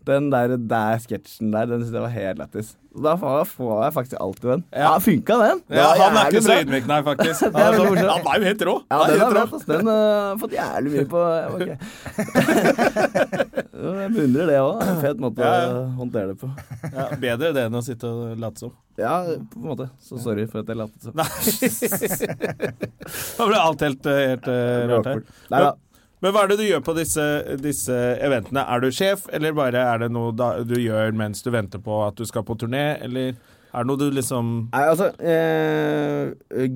den der, der sketsjen der, den synes jeg var helt lættis. Da får får jeg faktisk alltid den. Ja, funka den? Det Ja, var han er jævlig ikke så bra. ydmyk, nei, faktisk. Det er Han er, veldig sånn, morsomt. han er jo helt rå. Ja, Han er den helt har rå. vært, ass. Den eh, har fått jævlig mye på eh, ok. Jo, Jeg beundrer det òg. Fet måte Ja, å ja. håndtere det på. Ja, bedre det enn å sitte og late som. Ja, på en måte. Så sorry for at jeg lot som. Nei. Da ble alt helt, eh, helt eh, rart her. Nei da. Men hva er det du gjør på disse, disse eventene? Er du sjef, eller bare er det noe da, du gjør mens du venter på at du skal på turné, eller er det noe du liksom Nei, altså eh,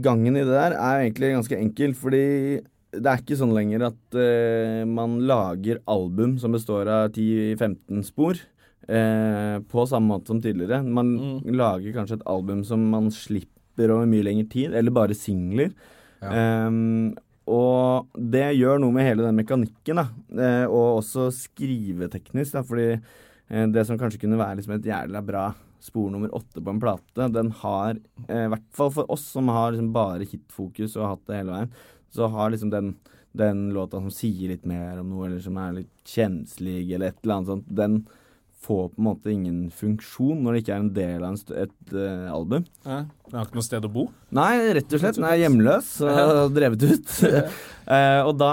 Gangen i det der er egentlig ganske enkel, fordi det er ikke sånn lenger at eh, man lager album som består av 10-15 spor. Eh, på samme måte som tidligere. Man lager kanskje et album som man slipper over mye lengre tid, eller bare singler. Ehm, og det gjør noe med hele den mekanikken, da. Eh, og også skriveteknisk, da, fordi eh, det som kanskje kunne være liksom et jævla bra spor nummer åtte på en plate, den har, eh, i hvert fall for oss som har liksom bare hitfokus og har hatt det hele veien, så har liksom den, den låta som sier litt mer om noe, eller som er litt kjenslig, eller et eller annet sånt, den får på en måte ingen funksjon når det ikke er en del av en st et eh, album. Ja. Jeg har ikke noe sted å bo. Nei, rett og slett. Den er hjemløs og drevet ut. Eh, og da,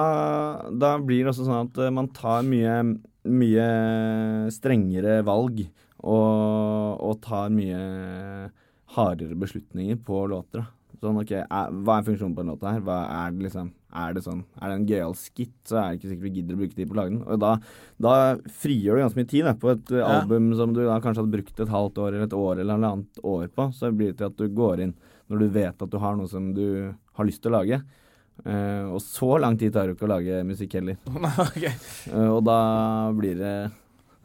da blir det også sånn at eh, man tar mye, mye strengere valg og, og tar mye hardere beslutninger på låter. da. Sånn, ok, er, Hva er funksjonen på en låt her? Hva er det liksom Er det sånn, er det en gøyal skit, så er det ikke sikkert vi gidder å bruke tid på å lage den. Og da, da frigjør du ganske mye tid da, på et eh, Ja. album som du da kanskje hadde brukt et halvt år eller et år eller halvannet år på. Så blir det til at du går inn når du vet at du har noe som du har lyst til å lage. Eh, og så lang tid tar det jo ikke å lage musikk heller. Ok. Eh, og da blir det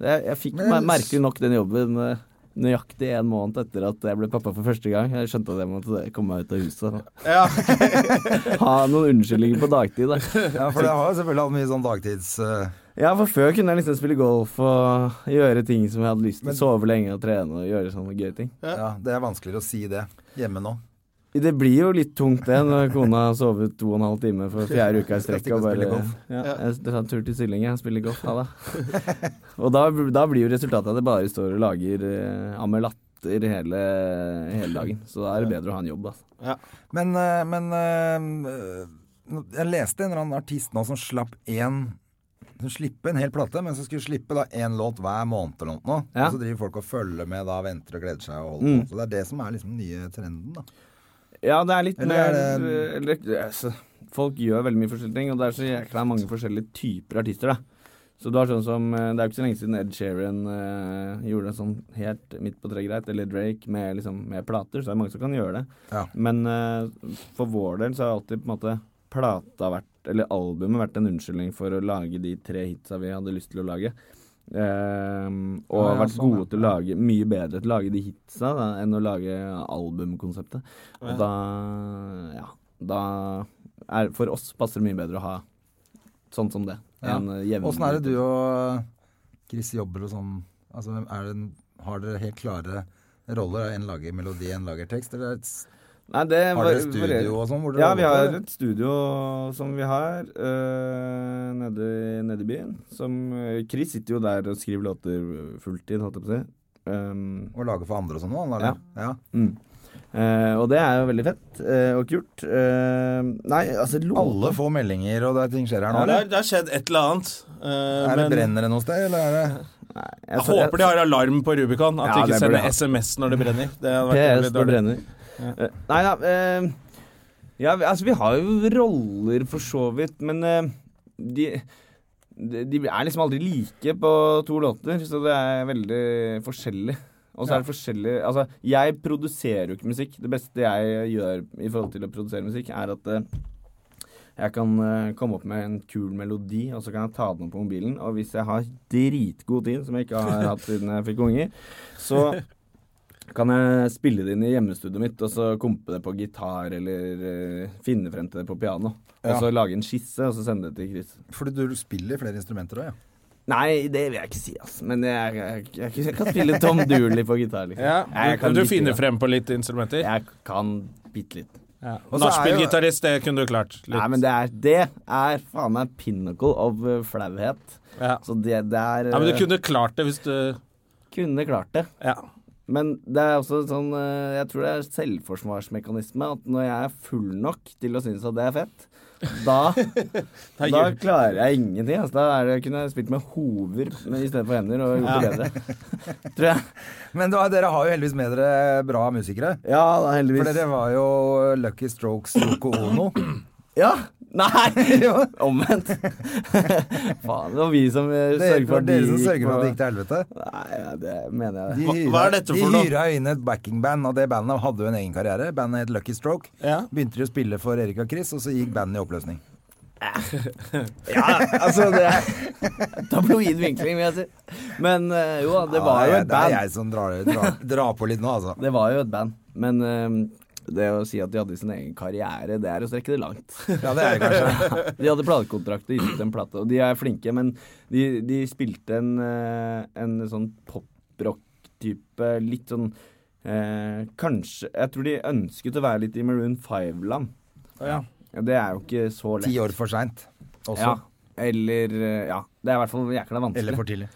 Jeg, jeg fikk Men- mer- merkelig nok den jobben eh, nøyaktig en måned etter at jeg ble pappa for første gang. Jeg skjønte at jeg måtte komme meg ut av huset. Ja. Ha noen unnskyldninger på dagtid. Da. Ja, for det har jo selvfølgelig hatt mye sånn dagtids... eh, Ja, for før kunne jeg liksom spille golf og gjøre ting som jeg hadde lyst til. Men- Sove lenge og trene og gjøre sånne gøye ting. ja, det er vanskeligere å si det hjemme nå. Det blir jo litt tungt det, når kona har sovet to og en halv time for fjerde uka Skal i strekk. stikke Og og bare, spille golf. ja, jeg tar en tur til Sylling, jeg spiller golf. Ha det. Og da, da blir jo resultatet at jeg bare står og lager eh, ammer latter hele, hele dagen. Så da er det bedre å ha en jobb, altså. Men, eh, men eh, eh, jeg leste en eller annen artist nå som slapp en som slippe en hel plate, men som skulle slippe da en låt hver måned eller noe. Og Ja. Mm. så driver folk og følger med da, venter og gleder seg og holder på. Så det er det som er liksom den nye trenden, da. Ja, det er litt Eller mer er eller, altså, Folk gjør veldig mye forskjellige ting, og det er så jækla mange forskjellige typer artister, da. Så du har sånn som eh, Det er jo ikke så lenge siden Ed Sheeran eh, gjorde det sånn helt midt på treet greit, eller Drake med, liksom, med plater, så er det mange som kan gjøre det. Ja. Men eh, for vår del så har alltid på en måte plata vært, eller albumet vært en unnskyldning for å lage de tre hitsa vi hadde lyst til å lage. Ehm, og Ja, ja, vært sånn, gode til å lage Mye bedre til å lage de hitsa da, enn å lage albumkonseptet. Og da Ja. Da er For oss passer det mye bedre å ha sånn som det. Ja. enn, eh, jevn- Åssen er det du og eh, Chris jobber og sånn? Altså, er det en, har dere helt klare roller? En lager melodi, en lager tekst? Eller er det et- Nei, det har dere var- studio og sånn? hvor dere Ja, vi holder på, har eller? et studio som vi har øh, nede, nede i byen. Som øh, Chris sitter jo der og skriver låter fulltid, holdt jeg på å si. Ehm, Og lager for andre og sånn nå? eller? ja. mm. Eh, og det er jo veldig fett eh, og kult. Eh, nei, altså låter Alle får meldinger, og det er ting skjer her nå? Ja, det, eller? har, det har skjedd et eller annet. eh, Er det men brenner det noe sted, eller er det jeg håper de har alarm på Rubicon. At Ja, de ikke det burde sender jeg. SMS når det brenner. Det hadde vært PS, veldig det dårlig. brenner. Eh, nei da eh, Ja, vi- altså, vi har jo roller for så vidt, men eh, de de de er liksom aldri like på to låter, så det er veldig forskjellig. Og så er det forskjellig Altså, jeg produserer jo ikke musikk. Det beste jeg gjør i forhold til å produsere musikk, er at eh, jeg kan eh, komme opp med en kul melodi, og så kan jeg ta den opp på mobilen. Og hvis jeg har dritgod tid, som jeg ikke har hatt siden jeg fikk unger, så kan jeg spille det inn i hjemmestudioet mitt, og så kompe det på gitar, eller eh, finne frem til det på piano. Og så lage en skisse, og så sende det til Chris. Fordi du spiller flere instrumenter òg, ja. Nei, det vil jeg ikke si, altså. Men jeg, jeg, jeg, jeg kan spille Tom Dooley på gitar, liksom. Ja, Nei, jeg kan du, du bitte finner litt. frem på litt instrumenter? Jeg kan bitte litt. Ja. Og så er jo- Nachspielgitarist, det kunne du klart. Litt. Nei, men det er, det er faen meg pinnacle of eh, flauhet. ja. Så det, det er Nei, men eh, du kunne klart det hvis du kunne klart det. Ja. Men det er også sånn eh, Jeg tror det er selvforsvarsmekanisme. At når jeg er full nok til å synes at det er fett, da, da gjør- klarer jeg ingenting. Altså, da er det, kunne jeg spilt med hover i stedet for hender og gjort det bedre. Tror jeg. Men da, dere har jo heldigvis med dere bra musikere. Ja, da, For heldigvis. dere var jo Lucky Strokes Yoko Ono. Ja! Nei! Omvendt. Faen, det var vi som eh, Det sørget for var at dere som sørger for at det på- gikk til helvete. Nei, ja, det mener jeg. De Hva- hva er dette de for noe? hyra inn et backingband, og det bandet hadde jo en egen karriere. Bandet het Lucky Stroke. Ja. Begynte de å spille for Erik og Chris, og så gikk bandet i oppløsning. Ja, altså det er Tabloid vinkling, vil jeg si. Men eh, jo, det var Ja, jo jeg- et Det er band. jeg som drar, drar, drar på litt nå, altså. Det var jo et band, men eh, Det å si at de hadde sin egen karriere, det er å strekke det langt. Ja, det er det kanskje. De hadde platekontrakt og gitt ut en plate, og de er flinke, men de, de spilte en, eh, en sånn poprock-type, litt sånn eh, Kanskje Jeg tror de ønsket å være litt i Maroon 5-land. Ja. Det er jo ikke så lett. Ti år for seint også. Ja. Eller eh, Ja. Det er i hvert fall jækla Eller vanskelig. for tidlig.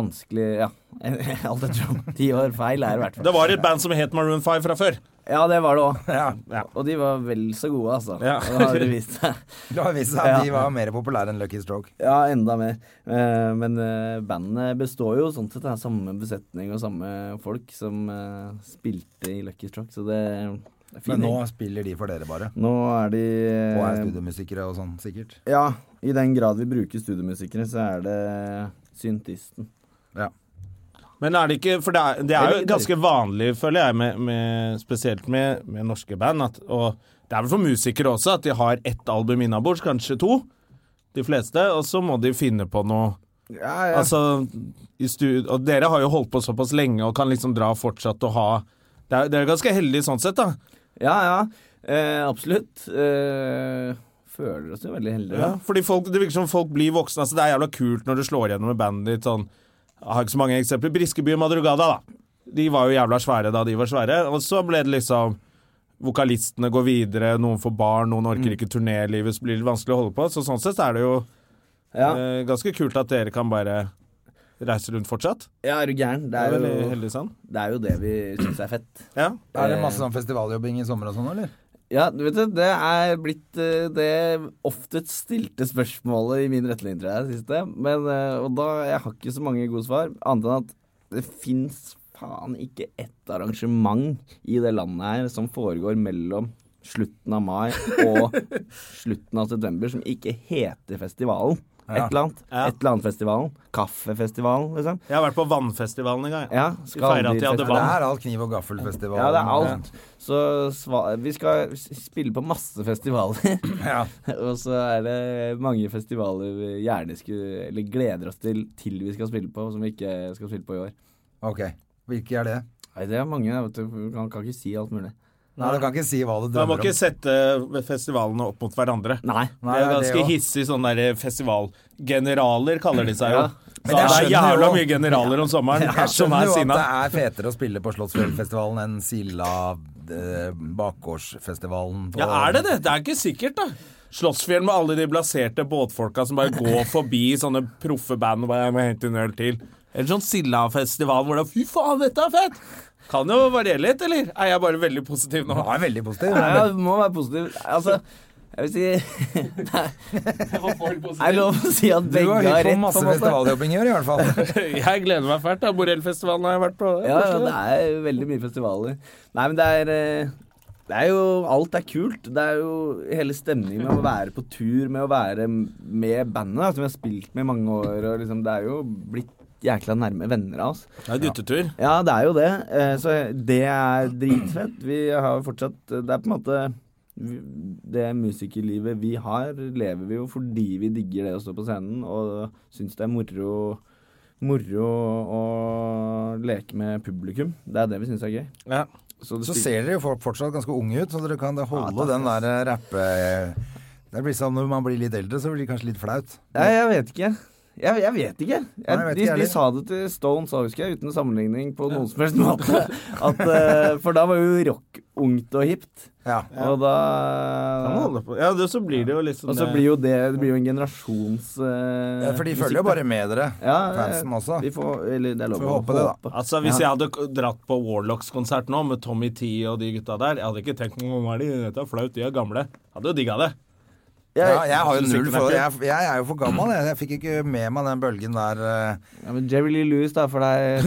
Vanskelig Ja. Alt ettersom. Ti år feil er det i hvert fall. Det var et band som het Maroon 5 fra før. Ja, det var det òg. Ja. Og de var vel så gode, altså. Ja. Det har det vist seg. Det har vist seg at Ja. de var mer populære enn Lucky Stroke. Ja, enda mer. Eh, men eh, bandet består jo sånn sett av samme besetning og samme folk som eh, spilte i Lucky Struck, så det, det er fint. Men nå spiller de for dere, bare. nå er de eh, Og er studiomusikere og sånn, sikkert. Ja, i den grad vi bruker studiomusikere, så er det syntisten. Ja. Men er det ikke For det er, det er jo Eller- ganske vanlig, føler jeg, med, med, spesielt med, med norske band, at, og det er vel for musikere også, at de har ett album innabords, kanskje to. De fleste. Og så må de finne på noe. Ja, Altså, i stu- og dere har jo holdt på såpass lenge og kan liksom dra fortsatt og ha det er, Dere er ganske heldige sånn sett, da. ja. Eh, absolutt. Eh, føler oss jo veldig heldige. Ja, fordi folk, Det virker som folk blir voksne. Altså, det er jævla kult når du slår gjennom med bandet ditt sånn Jeg har ikke så mange eksempler. Briskeby og Madrugada, da. De var jo jævla svære da de var svære. Og så ble det liksom Vokalistene går videre, noen får barn, noen Mm. orker ikke turnélivet, så blir det vanskelig å holde på. Så sånn sett er det jo Ja, eh, ganske kult at dere kan bare reise rundt fortsatt. ja er du gæren? Det Det er er veldig jo heldig sånn. det, er jo det vi syns er fett. Ja. Er det masse sånn festivaljobbing i sommer og sånn, eller? Ja, du vet det, det er blitt eh, det oftest stilte spørsmålet i min retning, tror jeg, det siste. Men, eh, og da, jeg har ikke så mange gode svar, annet enn at det fins faen ikke ett arrangement i det landet her som foregår mellom slutten av mai og slutten av september, som ikke heter festivalen. Et Ja. eller annet. Ja. Et eller annet festivalen. Kaffefestivalen, liksom. Jeg har vært på Vannfestivalen en gang. jeg. Ja, Vi feirer at de hadde Nei, skalldyr- det vann. er alt kniv og gaffelfestival. Ja, det er alt. Så sva vi skal s- spille på masse festivaler. Ja. Og så er det mange festivaler vi gjerne skulle, eller gleder oss til til vi skal spille på, som vi ikke skal spille på i år. Ok. Hvilke er det? Nei, det er mange, vet du. vi Kan, kan ikke si alt mulig. Nei, du kan ikke si hva du Man må drømmer ikke om. sette eh, festivalene opp mot hverandre. Nei. det er Nei, det er det ganske også. hissig sånn derre festivalgeneraler, kaller de seg jo. Ja. Så Men jeg det er skjønner jævla jo- mye generaler om sommeren Jeg som skjønner er jo at sinna. det er fetere å spille på Slottsfjellfestivalen enn Silla eh, Bakgårdsfestivalen. på- Ja, er det det? Det er ikke sikkert, da. Slottsfjell med alle de blaserte båtfolka som bare går forbi sånne proffe band og bare «Jeg må hente en øl til. Eller sånn Silla-festival hvor det er Fy faen, dette er fett! Kan jo variere litt, eller? Er jeg bare veldig positiv nå? Ja, jeg er veldig positiv. Nei, ja, du må være positiv. Altså, jeg vil si Det er lov å si at Du begge har hypp har på rett, på masse en måte. festivaljobbing i år, i hvert fall. Jeg gleder meg fælt. da Borellfestivalen har jeg vært på. Ja, ja, det er veldig mye festivaler. Nei, men det er eh, Det er jo Alt er kult. Det er jo hele stemningen med å være på tur, med å være med bandet, da, som vi har spilt med i mange år, og liksom Det er jo blitt jækla nærme venner av oss. Det er guttetur. Ja, det er jo det. Eh, Så det er dritfett. Vi har fortsatt eh, Det er på en måte vi- det musikerlivet vi har, lever vi jo fordi vi digger det å stå på scenen og syns det er moro, moro å leke med publikum. Det er det vi syns er gøy. Ja. Så, det Så spil- ser dere jo folk fortsatt ganske unge ut, så dere kan da holde Ja, takk, den der eh, rappe... Det blir sånn Når man blir litt eldre, så blir det kanskje litt flaut. Nei, jeg vet ikke. Jeg, jeg vet ikke. Jeg, Nei, jeg vet de, ikke de heller. sa det til Stones òg, husker jeg, uten sammenligning på noen som helst måte. At, eh, for da var jo rock ungt og hipt. Ja. Ja, Og man da holder på. Ja, det, så blir det jo litt sånn Og så blir jo det Det blir jo en generasjons eh, Ja, For de følger jo musikk, bare med dere, Ja, eh, fansen også. Vi får Eller det er lov Får å håpe det, da. Altså, Hvis jeg hadde k- dratt på Warlocks-konsert nå med Tommy T og de gutta der, jeg hadde ikke tenkt noe om de, dette er flaut, de er gamle. Jeg hadde jo digga det. Jeg, Ja, jeg har jo Musikken null er forhold. kul. Jeg, jeg er jo for gammel, jeg. Jeg fikk ikke med meg den bølgen der. eh. ja, men Jerry Lee Lewis, da, for deg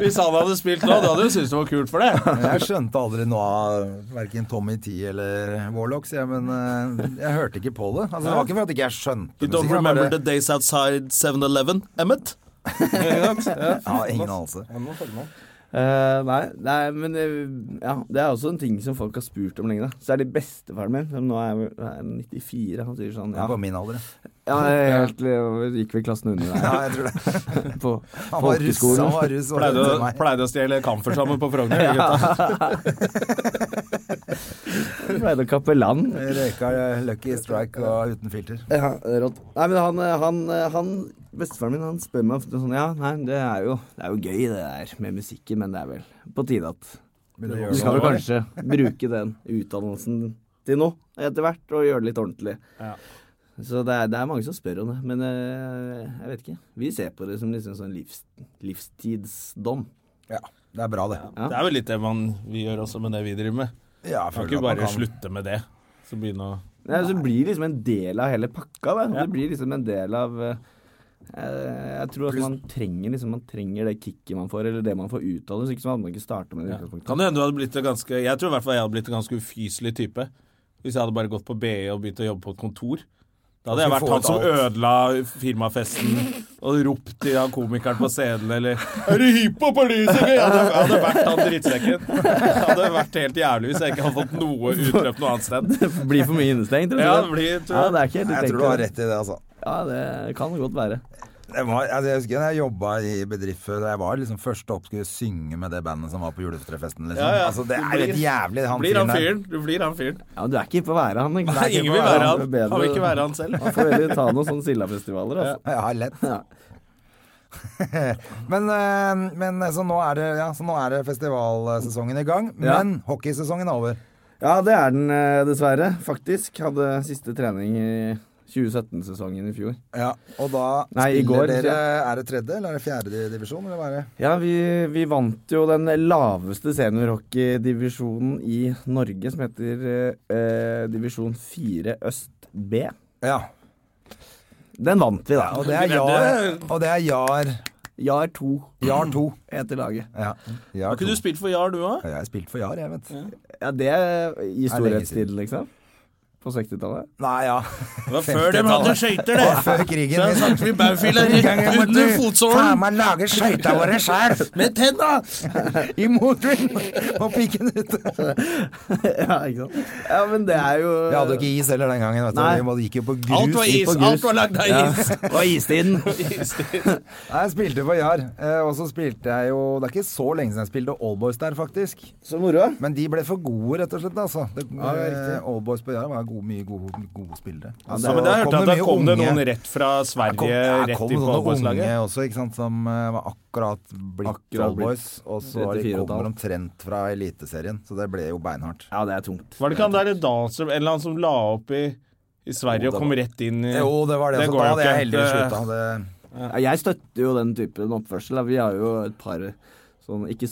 Hvis han hadde spilt nå, du hadde jo syntes det var kult for det. Jeg skjønte aldri noe av verken Tommy T eller Warlocks, jeg, men eh, jeg hørte ikke på det. Altså, det var ikke for at ikke jeg skjønte You don't musikken, remember jeg the bare- days outside 7-Eleven, Emmet? Ja, ingen anelse. Eh, nei, nei, men eh, ja, det er også en ting som folk har spurt om lenge. da Så er det bestefaren min, som nå er, er 94, han sier sånn Det ja, er på min alder. Ja, jeg er helt, jeg gikk vel klassen Ja, under jeg der tror det. på Han var russ. folkeskolen. Han var russ og Pleide hentet å, meg. pleide å stjele kamfer sammen på Frogner. gutta. Jeg Pleide å kappe land. Røyka eh, Lucky Strike og uten filter. Ja, rått. Nei, men han, eh, han, han Bestefaren min han spør meg ofte sånn Ja, nei, det er, jo, det er jo gøy det der med musikken, men det er vel på tide at Men det Du gjør skal noe. vel kanskje bruke den utdannelsen til nå, etter hvert, og gjøre det litt ordentlig. Ja. Så det er, det er mange som spør om det, men eh, jeg vet ikke. Vi ser på det som liksom sånn livs, livstidsdom. Ja, det er bra, det. Ja. Det er vel litt det man, vi gjør også med det vi driver med. Ja, jeg Kan føler ikke at man bare kan- slutte med det. Så begynne å Nei, så blir det liksom en del av hele pakka. Da. Ja. Det blir liksom en del av eh, eh, Jeg tror at man trenger, liksom, man trenger det kicket man får, eller det man får ut av det. Så ikke så hadde man ikke starta med det. i utgangspunktet. Kan det hende du hadde blitt en ganske Jeg tror i hvert fall jeg hadde blitt en ganske ufyselig type. Hvis jeg hadde bare gått på BI og begynt å jobbe på et kontor. Da hadde jeg Da vært skulle han du som få ut alt. ødela firmafesten og ropt til han komikeren på scenen eller 'Er du hiphop, er du sikker?' Jeg hadde, jeg hadde vært han drittsekken. Jeg hadde vært helt jævlig hvis jeg ikke hadde fått noe utløp noe annet sted. Det blir for mye innestengt. tror du Ja, det? det blir, tror ja, jeg. det er ikke helt Nei, Jeg tror du har rett i det, altså. Ja, det kan godt være. Det var, altså jeg husker da jeg jobba i bedrift før, da jeg var liksom først opp skulle synge med det bandet som var på juletrefesten. Liksom. Ja, ja. Altså, det Du er jo helt blir- jævlig, han Blir han der. fyren. Du blir han fyren. Ja, men Du er ikke på å være han. ikke sant? Nei, Du er ikke ingen på vil å være Du han. er bedre- Han vil ikke være han selv. Man får heller ta noen sånne Silla-festivaler. Altså. Ja, lett. Ja. Men, eh, men så, nå er det, ja, så nå er det festivalsesongen i gang. Ja. Men hockeysesongen er over. Ja, det er den eh, dessverre. Faktisk hadde siste trening i 2017-sesongen i fjor. Ja, og da Nei, i spiller går, dere Er det tredje eller er det fjerde divisjon? Eller hva er det? Ja, vi, vi vant jo den laveste seniorhockeydivisjonen i Norge, som heter eh, divisjon 4 øst B. Ja, Den vant vi, da. og det er Jar, og det er jar, Jar 2 jar 2. heter laget. Ja, Har jar ikke 2. du spilt for Jar, du òg? Jeg har spilt for Jar, jeg, vet du. Ja, det er i er lenge storhetstid, liksom. På 60-tallet. Nei, ja. Det var før de hadde skøyter, Det var det. før krigen. Så snakker vi Baufil er rett Gangen under måtte du fotsålen. ta meg lage skøyta våre sjæl! Med tenna! I motvind! Og pikken ute. ja, ikke sant. Ja, men det er jo Vi hadde jo ikke is heller den gangen. Vet du. Nei. Vi måtte- gikk jo på grus. Alt var gikk is. på grus. Alt var lagd av is. Og istiden. Nei, Jeg spilte for Jar, eh, og så spilte jeg jo Det er ikke så lenge siden jeg spilte Allboys der, faktisk. Så moro. Men de ble for gode, rett og slett. altså. Det, Ja, det er riktig. eh, Allboys på Jar var gode, mye gode, gode spillere. Ja, men der hørte jeg at der kom det noen rett fra Det kom, Sverige der rett kom inn på sånne unge Alborslaget. også, ikke sant, som eh, var akkurat blitt Akkurat Allboys. Og så var de 34 og et halvt. kommer omtrent fra Eliteserien, så det ble jo beinhardt. Ja, det er tungt. Var det ikke han der Dahlstrøm, en eller annen som la opp i, i Sverige og kom rett inn i Jo, det var det. Det så går da jo hadde jeg ikke. heldigvis slutta. Det... Ja, jeg støtter jo den typen oppførsel. da. Vi har jo et par sånn ikke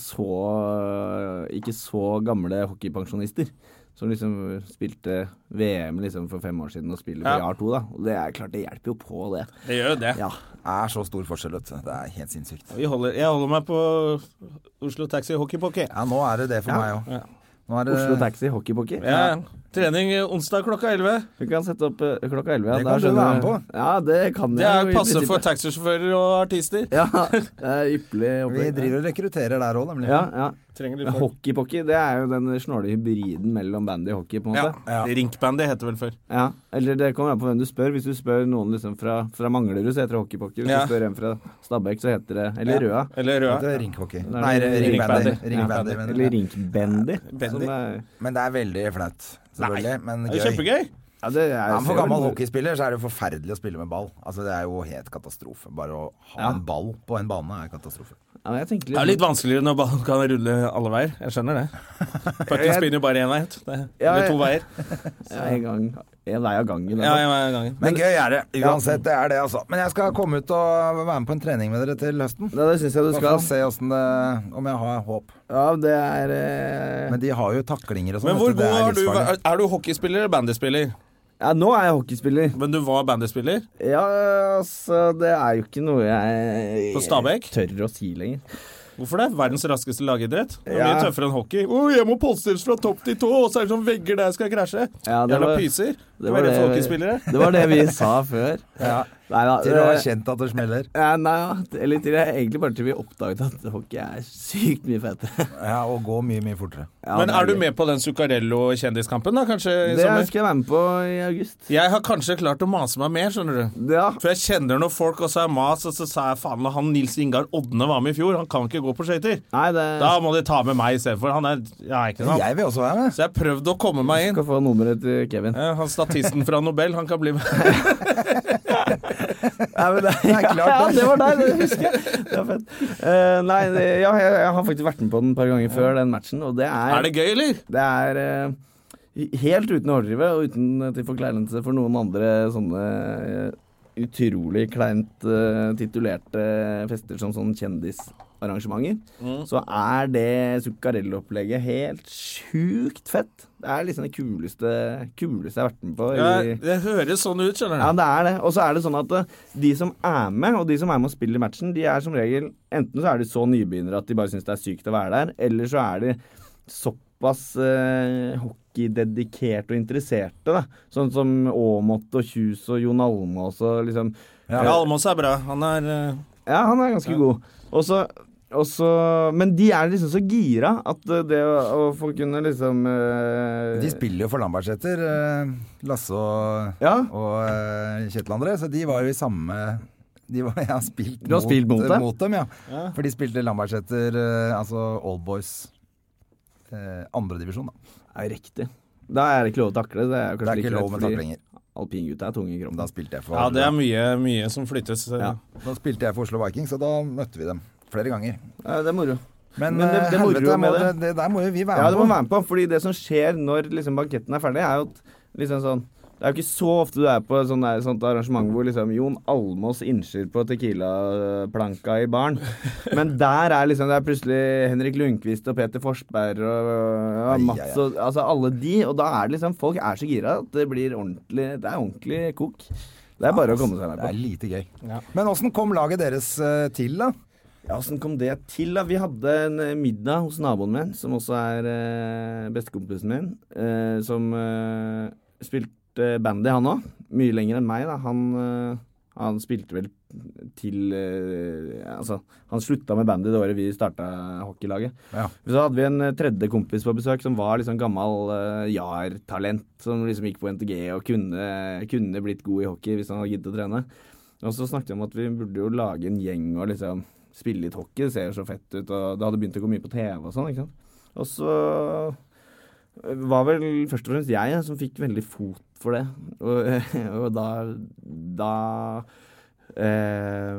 så, ikke så gamle hockeypensjonister. Som liksom spilte VM liksom for fem år siden og spiller for Ja. Jar 2, da. Og det er klart, det hjelper jo på det. Det gjør jo det. Ja. er så stor forskjell, vet du. Det er helt sinnssykt. Vi holder, jeg holder meg på Oslo Taxi Hockey Pocky. Ja, nå er det det for Ja. meg òg. Nå er det Oslo Taxi hockeypocky. Ja. Trening onsdag klokka 11. Du kan sette opp eh, klokka 11. Ja, Det da kan du skjønner være jeg- med Ja, det kan Det jeg er jo i passe prinsippet. for taxisjåfører og artister. Ja, det er ypperlig Vi opplegg. driver og rekrutterer der òg, nemlig. Ja, ja. Trenger litt folk. Hockeypocky, det er jo den snåle hybriden mellom bandy og hockey, på en Ja. måte. Ja. Rinkbandy heter vel før. Ja. Eller det kommer an på hvem du spør. Hvis du spør noen liksom fra, fra Manglerud, så heter det hockeypocky. Hvis Ja. du spør en fra Stabekk, så heter det Eller Røa. Eller Det Røa. er Rinkhockey. Nei, Nei, det er ringbandy. ringbandy. Ringbandy, men- Eller rinkbandy. Bandy. som er- Men det er veldig flaut, selvfølgelig. Men Det er jo gøy. kjempegøy. Ja, det er Ja, jo men for gammel hockeyspiller så er det jo forferdelig å spille med ball. Altså Det er jo helt katastrofe. Bare å ha Ja. en ball på en bane er katastrofe. Ja, men jeg tenker Det er jo litt vanskeligere når ballen kan rulle alle veier. Jeg skjønner det. Pucken spinner jo bare én vei. Det, Ja, eller jeg- to veier. ja, en gang. En vei av gangen. Ja, altså. en vei av gangen. Men gøy er det. Uansett, det er det, altså. Men jeg skal komme ut og være med på en trening med dere til høsten. Ja, det syns jeg du Så skal skal. vi se åssen det Om jeg har håp. Ja, det er eh, Men de har jo taklinger og sånn. Men hvor god vet det har du livsfarlig. vært? Er du hockeyspiller eller bandyspiller? Ja, nå er jeg hockeyspiller. Men du var bandyspiller? Ja, altså Det er jo ikke noe jeg På Stabæk? tør å si lenger. Hvorfor det? Verdens raskeste lagidrett. Det er Ja. Mye tøffere enn hockey. Å, jeg må polstres fra topp til tå, og så er det sånn vegger der jeg skal krasje. Ja, det Jævla var- pyser. det Det var var det for det- hockeyspillere. Det var det vi sa før. Ja. Neida, Til å ha det- kjent at det smeller. Ja, nei, ja, eller til jeg egentlig bare til vi oppdaget at hockey er sykt mye fetere. Ja, og gå mye, mye fortere. Ja, Men det er du gøy. med på den Zuccarello-kjendiskampen, da, kanskje? i Det sommer? skal jeg være med på i august. Jeg har kanskje klart å mase meg mer, skjønner du. Ja, For jeg kjenner noen folk, og så er mas, og så sa jeg faen, når han Nils Ingar Odne var med i fjor, han kan ikke gå på skøyter. nei, det Da må de ta med meg istedenfor. Han er Ja, ikke sant? Jeg vil også være med. Så jeg prøvde å komme meg inn. skal få nummeret til Kevin. Ja, Eh, han statisten fra Nobel, han kan bli med. Nei, men det, Det er klart, ja, det. det var deg, det husker jeg. Det er fett. Eh, nei, det, ja, jeg, jeg har faktisk vært med på den et par ganger før den matchen, og det er Er det gøy, eller? Det er eh, helt uten overdrive og uten eh, til forkleinelse for noen andre sånne eh, utrolig kleint eh, titulerte fester som sånn kjendisarrangementer, så er det Zuccarello-opplegget helt sjukt fett. Det er liksom det kuleste, kuleste jeg har vært med på. Ja, i det høres sånn ut, ja, skjønner du. det er det. Og så er det sånn at eh, de som er med, og de som er med og spiller matchen, de er som regel Enten så er de så nybegynnere at de bare syns det er sykt å være der, eller så er de såpass eh, hockeydedikerte og interesserte, da. Sånn som Aamodt og Kjus og Jon Almaas og liksom Ja, Almås er bra. Han er eh, ja, han er ganske god. Og så og så- men de er liksom så gira at eh, det å, å få kunne liksom eh, De spiller jo for Lambertseter, eh, Lasse og, Ja. og eh, Kjetil André, så de var jo i samme de var, jeg har spilt, Du har spilt mot dem? mot dem? Ja. For de spilte Lambertseter, eh, altså All Boys, eh, andredivisjon, da. er riktig. Da er det ikke lov å takle. Det er, Det er ikke lov med taklinger. taklinger. Alpingutta er tunge i kroppen. Da spilte jeg for Ja, det er mye, mye som flyttes. eh. Ja. Da spilte jeg for Oslo Vikings, og da møtte vi dem flere ganger. Ja, det er moro. Men, Men det- eh, det moro helvete, må med det, det- det der må jo vi være Ja, det må med på. være med på, fordi det som skjer når liksom, banketten er ferdig, er jo at liksom sånn det er jo ikke så ofte du er på et sånt, der- sånt arrangement hvor liksom Jon Almås innskyr på Tequila-planka i baren. Men der er liksom det er plutselig Henrik Lundqvist og Peter Forsberg og ja, Ai, ai, Mats ai. og altså alle de. Og da er det liksom Folk er så gira at det blir ordentlig Det er ordentlig kok. Det er bare å komme seg med Det er på. lite gøy. Men åssen kom laget deres eh, til, da? Ja, Åssen kom det til? da? Vi hadde en eh, middag hos naboen min, som også er eh, bestekompisen min, eh, som eh, spilte bandy, han òg. Mye lenger enn meg, da. Han, eh, han spilte vel til eh, Altså, han slutta med bandy det året vi starta hockeylaget. Ja. Så hadde vi en eh, tredje kompis på besøk som var liksom gammel eh, JAR-talent, som liksom gikk på NTG og kunne, kunne blitt god i hockey hvis han hadde giddet å trene. Og så snakket vi om at vi burde jo lage en gjeng og liksom spille litt hockey, det ser jo så fett ut, og det hadde begynt å gå mye på TV og sånn, ikke sant. Og så eh, var vel først og fremst jeg som fikk veldig fot for det, og, og da, da eh,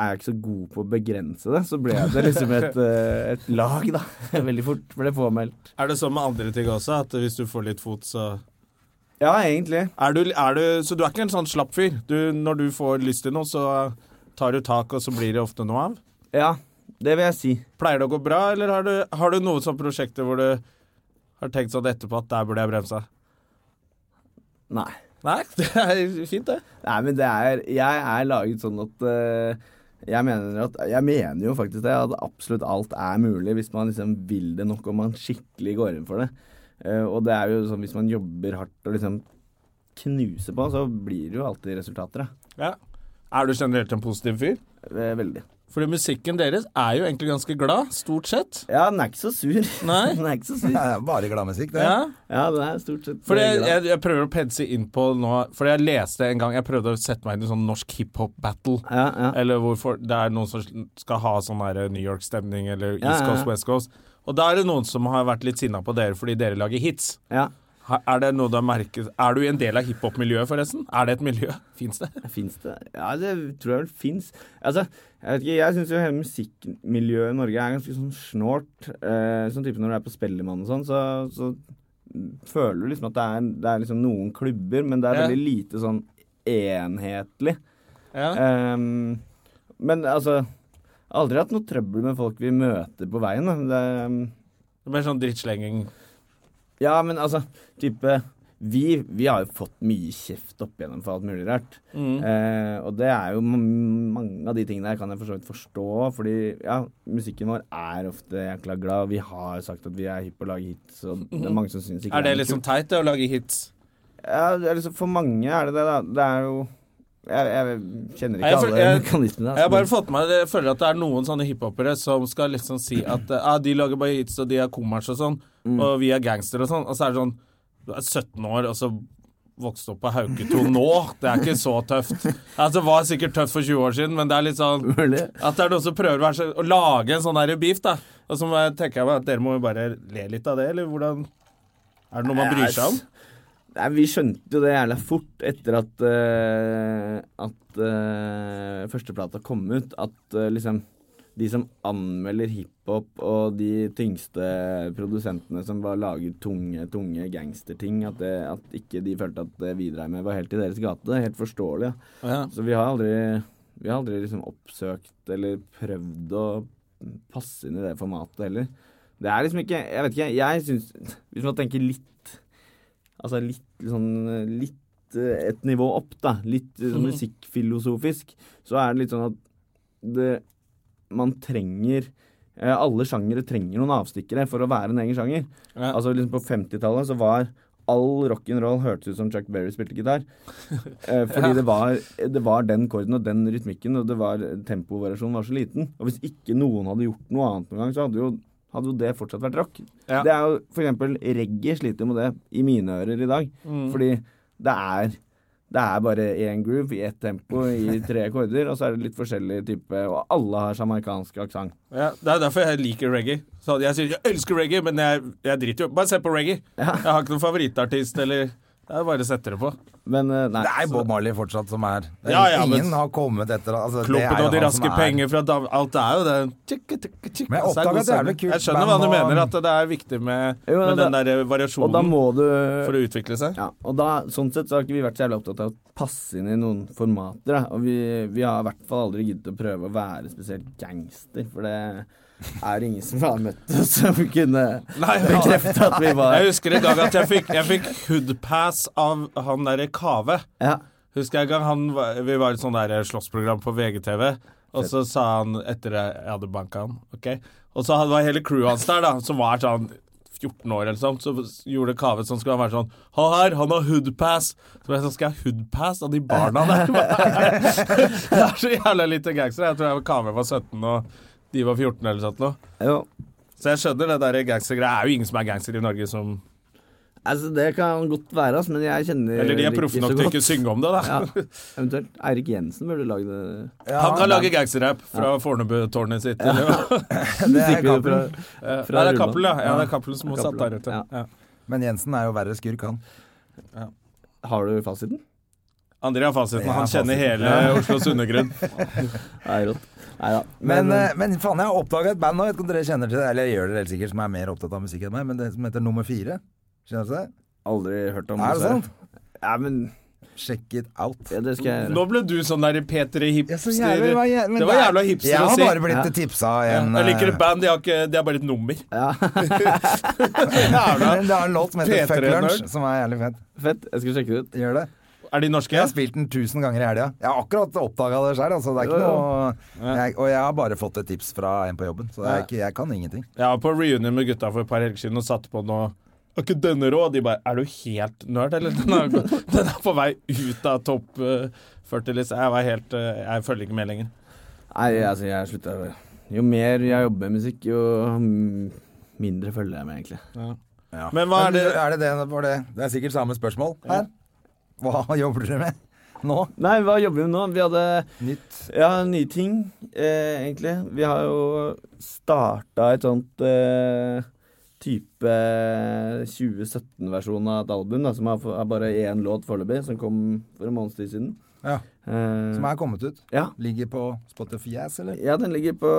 er jeg ikke så god på å begrense det, så ble det liksom et, eh, et lag, da. Veldig fort ble det påmeldt. Er det sånn med andre ting også, at hvis du får litt fot, så Ja, egentlig. er du, er du, Så du er ikke en sånn slapp fyr? Du, når du får lyst til noe, så tar du tak, og så blir det ofte noe av? Ja, det vil jeg si. Pleier det å gå bra, eller har du, har du noe sånt prosjekter hvor du har tenkt sånn etterpå at der burde jeg bremsa? Nei. Nei, det er fint, det. Nei, men det er Jeg er laget sånn at eh, jeg mener, at, jeg mener jo faktisk det, at absolutt alt er mulig hvis man liksom vil det nok og man skikkelig går inn for det. Eh, og det er jo sånn hvis man jobber hardt og liksom knuser på, så blir det jo alltid resultater, da. Ja. Er du generelt en positiv fyr? Eh, Veldig. Fordi musikken deres er jo egentlig ganske glad, stort sett. Ja, den er ikke så sur. Nei. den er ikke så sur. Det er bare gladmusikk, det. Ja. Ja, den er stort sett For jeg, glad. jeg, jeg prøver å pense inn på nå For jeg leste en gang Jeg prøvde å sette meg inn i sånn norsk hiphop-battle. ja, ja. Eller hvorfor det er noen som skal ha sånn der New York-stemning, eller Ja, East ja, Coast, ja. West Coast. Og da er det noen som har vært litt sinna på dere fordi dere lager hits. ja. Ha- Er det noe du har merket Er du i en del av hiphop-miljøet, forresten? Er det et miljø? Fins det? Fins det? Ja, det tror jeg vel fins. Altså, jeg vet ikke, jeg syns jo hele musikkmiljøet i Norge er ganske sånn snålt. Eh, sånn type når du er på Spellemann og sånn, så, så føler du liksom at det er, det er liksom noen klubber, men det er Ja. veldig lite sånn enhetlig. Ja. Ehm, men altså Aldri hatt noe trøbbel med folk vi møter på veien. Da. Det, ehm, Det blir sånn drittslenging. ja, men altså, type vi, vi har jo fått mye kjeft opp igjennom for alt mulig rart. Mm. Eh, og det er jo ma- mange av de tingene her kan jeg for så vidt forstå, fordi ja, musikken vår er ofte jækla glad. og Vi har sagt at vi er hypp på å lage hits, og det er mange som syns ikke Mhm. Er det noe liksom teit, det, å lage hits? kult. ja, det er liksom, For mange er det det, da. Det er jo Jeg, jeg kjenner ikke Jeg føl- alle jeg- mekanismene. Jeg har bare altså, fått med, jeg føler at det er noen sånne hiphopere som skal liksom si at eh, ah, de lager bare hits, og de er kommers og sånn, og vi er gangster og sånn. Og så er det sånn Du er 17 år, og så vokste opp på Hauketo nå. Det er ikke så tøft. Altså, det var sikkert tøft for 20 år siden, men det er litt sånn men- Mulig. at det er noen som prøver å, være, så- å lage en sånn der beef, da. Og så må jeg- tenker jeg bare at dere må jo bare le litt av det, eller hvordan Er det noe Eh, man bryr seg altså, om? Nei, vi skjønte jo det jævla fort etter at eh, At eh, førsteplata kom ut, at eh, liksom De som anmelder hiphop, og de tyngste produsentene som bare lager tunge, tunge gangsterting, at, det, at ikke de følte at det vi dreiv med, var helt i deres gate. Det er Helt forståelig. Ja. Ja. Så vi har aldri, vi har aldri liksom oppsøkt eller prøvd å passe inn i det formatet heller. Det er liksom ikke Jeg vet ikke, jeg syns Hvis man tenker litt Altså litt sånn Litt eh, et nivå opp, da. Litt eh, sånn musikkfilosofisk. Så er det litt sånn at det Man trenger eh, Alle sjangere trenger noen avstikkere for å være en egen sjanger. Ja. Altså liksom På 50-tallet så var all rock'n'roll hørtes ut som Chuck Berry spilte gitar. Eh, fordi det, var, det var den korden og den rytmikken, og det var tempovariasjonen var så liten. Og hvis ikke noen hadde gjort noe annet noen gang, så hadde jo, hadde jo det fortsatt vært rock. Ja. Det er jo for eksempel reggae sliter med det i mine ører i dag. Mm. Fordi det er det er bare én groove i ett tempo i tre akkorder, og så er det litt forskjellig type Og alle har jamaicansk aksent. Ja, det er derfor jeg liker reggae. Så jeg sier jeg elsker reggae, men jeg, jeg driter jo Bare se på reggae. Jeg har ikke noen favorittartist, eller Jeg bare setter det på. Men eh, nei. Det er så- Bob Marley fortsatt som er det er Ja, ja, men- Ingen har kommet etter altså, det er Klumpen jo og de han som raske er- penger fra Dav... Alt er jo det Tjekk, tjekk, tjekk. Men jeg Altså, god oppdaget at det er vel stemning. kult Jeg skjønner hva band du å- mener, at det er viktig med, Jo, med da- den der Og da variasjonen må du for å utvikle seg. Ja, og da, sånn sett så har ikke vi vært så jævlig opptatt av å passe inn i noen formater. Da. Og vi, vi har i hvert fall aldri giddet å prøve å være spesielt gangster, for det er ingen som har møtt oss som kunne Nei, bekrefte at vi var Jeg husker en gang at jeg fikk, jeg fikk hoodpass av han derre Kave. ja. Husker jeg en gang han var, Vi var i et sånt der eh, slåssprogram på VGTV, og så sa han etter jeg jeg hadde banka han, OK? Og så hadde- var hele crewet hans der, da, som var sånn 14 år eller sånn, så gjorde Kave sånn, skulle han være sånn Han her, han har hoodpass! Så ble jeg sånn, skal jeg ha hoodpass av de barna der? det er så jævla lite gangster. Jeg tror jeg Kave var 17, og de var 14 eller sånt noe. Jo. Så jeg skjønner det der gangstergreia. Det er jo ingen som er gangster i Norge som Altså, det kan godt være, ass, men jeg kjenner Eller de er ikke proffe så nok til godt. ikke å synge om det, da. Ja, eventuelt. Eirik Jensen burde lagd det. Ja, Han kan lage gangsterrap fra Fornebutårnet sitt. Eller, det er Musikkvideo Cappelen. Eh, Fra Nei, det er Rulla. Cappelen, ja. ja. Det er Cappelen som Ja, har satt der Cappelen, ute. ja. Ja. Men Jensen er jo verre skurk, han. Har du fasiten? André har fasiten. Ja, Han kjenner fasiten. hele Oslos undergrunn. Nei, rått. Nei da. Men, eh, men faen, jeg har oppdaga et band nå, jeg vet ikke om dere kjenner til det, eller gjør dere helt sikkert, som er mer opptatt av musikk enn meg, men det som heter Nummer Fire. Kjenner dere til det? aldri hørt Er om det dessverre. sant? Ja, men Check it out. ja, det skal jeg Nå ble du sånn der Peter Ja, så Hipster. jævlig, det var jæ- men det var jævla hipster Jeg å har si. bare blitt Ja. tipsa Ja. en Jeg liker eh, et band, de har ikke De er bare et nummer. Ja, Jævla. men Det har en låt som heter P3 Fuck Lunch, Nerd. som er jævlig fett. fett. Jeg skal sjekke det ut. Gjør det. Er de norske? Jeg har spilt den tusen ganger i helga. Jeg har akkurat oppdaga det sjøl, altså. Det er ikke Jo, noe jeg, Og jeg har bare fått et tips fra en på jobben, så det er Ja. ikke, jeg kan ingenting. Jeg var på reunion med gutta for et par helger siden og satte på noe Er ikke denne rå? De bare Er du helt nerd, eller? Den er, den er på vei ut av topp eh, 40 list. Jeg var helt eh, Jeg følger ikke med lenger. Nei, altså, jeg slutta Jo mer jeg jobber med musikk, jo mm, mindre følger jeg med, egentlig. Men hva er det er det, det, var det? Det er sikkert samme spørsmål her. Hva jobber dere med nå? Nei, hva jobber vi med nå? Vi hadde Nytt? ja, nye ting, eh, egentlig. Vi har jo starta et sånt eh, type 2017-versjon av et album, da, som har, har bare én låt foreløpig, som kom for en måneds tid siden. Ja. Eh, Som er kommet ut? ja. Ligger på Spotify, eller? ja, den ligger på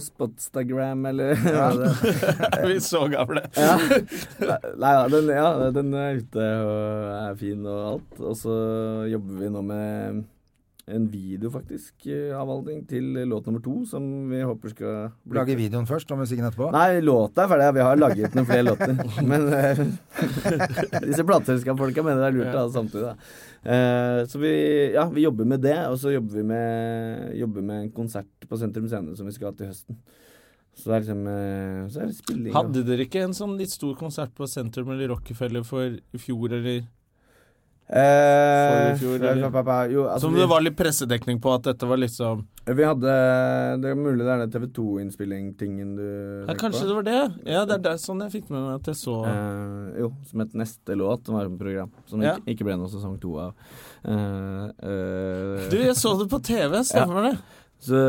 Spotstagram, eller hva det er. Vi er så gamle. Ja. Nei da, den, ja, den er ute og er fin og alt. Og så jobber vi nå med en video, faktisk, eh, av alle ting, til låt nummer to, som vi håper skal bli Lager videoen først og musikken etterpå? Nei, låta er ferdig. Vi har laget noen flere låter. Men eh, disse plateselskapsfolka mener det er lurt å ha det samtidig, da. Eh, så vi, ja, vi jobber med det, og så jobber vi med, jobber med en konsert på Sentrum Scene som vi skal ha til høsten. Så det er liksom eh, Så er det spilling. da. Hadde dere ikke en sånn litt stor konsert på Sentrum eller Rockefeller for i fjor, eller Eh, Forrige fjor, fra- eller? fra- fra- fra- Jo, altså, Som det var litt pressedekning på at dette var liksom vi, vi hadde Det er mulig det er den TV 2-innspilling-tingen du ja, Kanskje det var det? Ja, det er der, sånn jeg fikk med meg at jeg så Eh, jo, som het Neste låt, som var et program som Ja. ikke, ikke ble noe sesong to av. Eh, eh, Du, jeg så det på TV, stemmer det? Så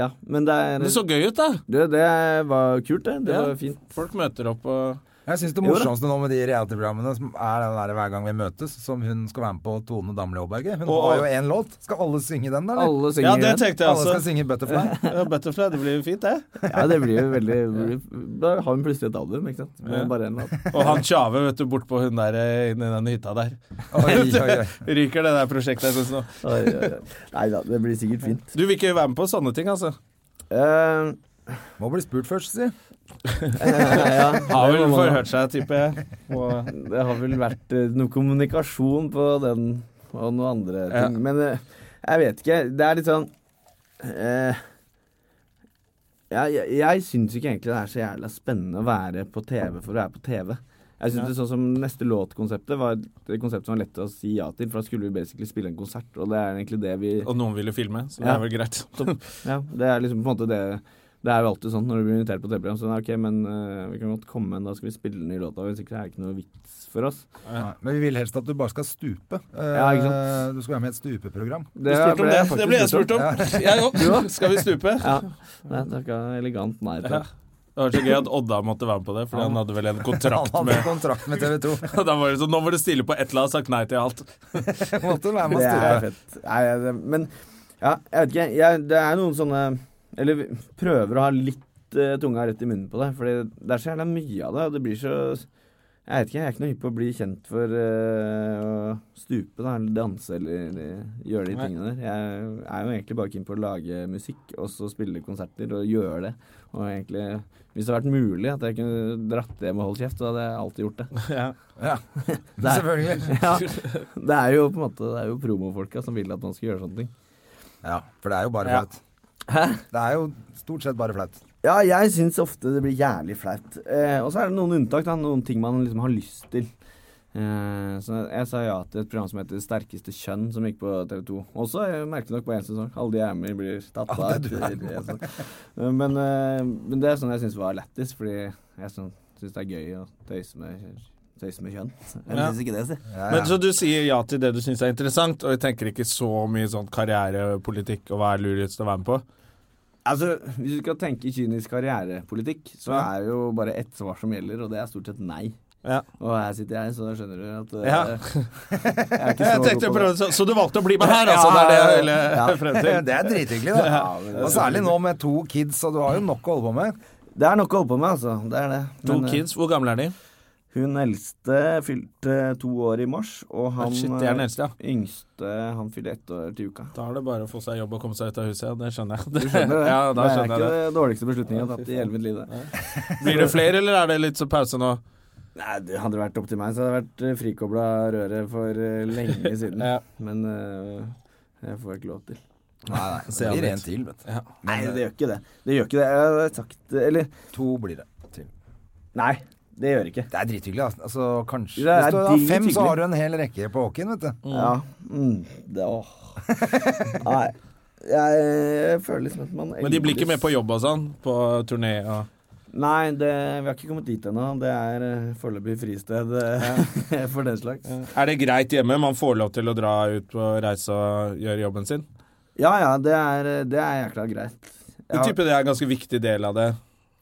ja, men det er Det så gøy ut, da. Du, det var kult, det. Det Ja. var fint. Folk møter opp og Jeg syns det Jo da. morsomste nå med de reality-programmene som er den der hver gang vi møtes, som hun skal være med på, Tone Damli Aaberge. Hun Og- har jo én låt. Skal alle synge den, da? eller? Alle synger Ja, det den. tenkte jeg Alle skal også. synge 'Butterfly'. Ja, Butterfly, det blir jo fint, det. Ja, det blir jo veldig blir, Da har hun plutselig et album, ikke sant. Med Ja. bare en låt. Og han Tjave, vet du, bortpå hun der eh, inni den hytta der. Oi, oi, oi. Ryker det der prosjektet, jeg synes nå. Oi, oi, oi. Nei da, det blir sikkert fint. Du vil ikke være med på sånne ting, altså? Eh, Må bli spurt først, si. ja, Har det vel må man ha. forhørt seg, tipper jeg. Og Det har vel vært eh, noe kommunikasjon på den og noen andre Ja. ting. Men eh, jeg vet ikke. Det er litt sånn eh, Jeg, jeg, jeg syns ikke egentlig det er så jævla spennende å være på TV for å være på TV. Jeg synes det sånn som Neste låt-konseptet var et konsept som var lett å si ja til, for da skulle vi basically spille en konsert, og det er egentlig det vi og noen ville filme, så det Ja. er vel greit. Ja, det er liksom på en måte det Det er jo alltid sånn når du blir invitert på TV-program. Sånn, ok, men eh, vi kan godt komme, men da skal vi spille den nye låta. Hvis ikke så er det ikke noe vits for oss. Nei, Men vi vil helst at du bare skal stupe. Eh, Ja, ikke sant? Du skal være med i et stupeprogram. Det Spurte om ble det. jeg Det faktisk ble jeg spurt om. spurt om. Jeg òg. Skal vi stupe? Ja. Nei, takka elegant nei til. Ja. Det var så gøy at Odda måtte være med på det, Fordi han hadde vel en kontrakt Han hadde med kontrakt med TV 2. Og da var det sånn, Nå må du stille på et eller annet, sagt nei til alt. Måtte være med og Det stupe. er fett. Nei, det, men ja, jeg vet ikke. Jeg, det er noen sånne Eller vi prøver å ha litt eh, tunga rett i munnen på det. Fordi det er så jævla mye av det, og det blir så Jeg vet ikke, jeg er ikke noe hypp på å bli kjent for eh, å stupe da, eller danse eller, eller gjøre de Nei. tingene der. Jeg er jo egentlig bare keen på å lage musikk, og så spille konserter og gjøre det. Og egentlig Hvis det hadde vært mulig at jeg kunne dratt hjem og holdt kjeft, så hadde jeg alltid gjort det. Ja. Ja. er- Selvfølgelig. Ja, det er jo på en måte Det er jo promofolka som vil at man skal gjøre sånne ting. Ja, for det er jo bare Ja. flaut. Det er jo stort sett bare flaut. Ja, jeg syns ofte det blir jævlig flaut. Eh, og så er det noen unntak, da. Noen ting man liksom har lyst til. Eh, så jeg sa ja til et program som heter Sterkeste kjønn, som gikk på TV 2. Også eh, merkelig nok på én sesong. Alle de jeg er med i, blir tatt av. Alle du er etter- etter en sesong. Men, eh, men det er sånn jeg syns var lættis, fordi jeg sånn, syns det er gøy å tøyse med, tøyse med kjønn. Jeg Ja. syns ikke det, si. Ja, Men ja. Så du sier ja til det du syns er interessant, og jeg tenker ikke så mye sånn karrierepolitikk og hva er lurest å være med på? Altså, Hvis du skal tenke kynisk karrierepolitikk, så Ja. er jo bare ett svar som gjelder, og det er stort sett nei. Ja. Og her sitter jeg, så da skjønner du at eh, Ja. jeg er ikke så Jeg god tenkte på å det. prøve, så, så du valgte å bli med her, altså? Ja, det er det ja, hele ja. frem til. Det er drithyggelig, da. men Og særlig nå med to kids, og du har jo nok å holde på med. Det er nok å holde på med, altså. Det er det. To Men, eh, kids, hvor gamle er de? Hun eldste fylte to år i mars, og han Shit, det er den eh, eldste, ja. yngste han fyller ett år til uka. Da er det bare å få seg jobb og komme seg ut av huset, ja. Det skjønner jeg. Du skjønner det? Ja, da det er skjønner jeg ikke det. det dårligste beslutningen jeg har tatt i hele mitt liv. det. Blir det flere, eller er det litt så pause nå? Nei, det hadde det vært opp til meg, så hadde jeg vært eh, frikobla røret for eh, lenge siden. Ja. Men eh, jeg får ikke lov til. Nei, nei. Det blir en til, vet du. Ja. Nei, det gjør ikke det. Det gjør ikke det. Jeg har sagt eh, Eller To blir det til. Nei, det gjør ikke. Det er drithyggelig, altså. altså kanskje. Det er Hvis du har fem, drithyggelig. så har du en hel rekke på Håken, vet du. Ja. Mm, det, åh. Nei. Jeg, jeg føler liksom at man Men de blir ikke med på jobb og sånn? På turné og Nei, det, vi har ikke kommet dit ennå. Det er eh, foreløpig fristed eh, for den slags. Er det greit hjemme? Man får lov til å dra ut på reise og gjøre jobben sin? Ja ja, det er, eh, det er jækla greit. Jeg Ja, tipper det er en ganske viktig del av det.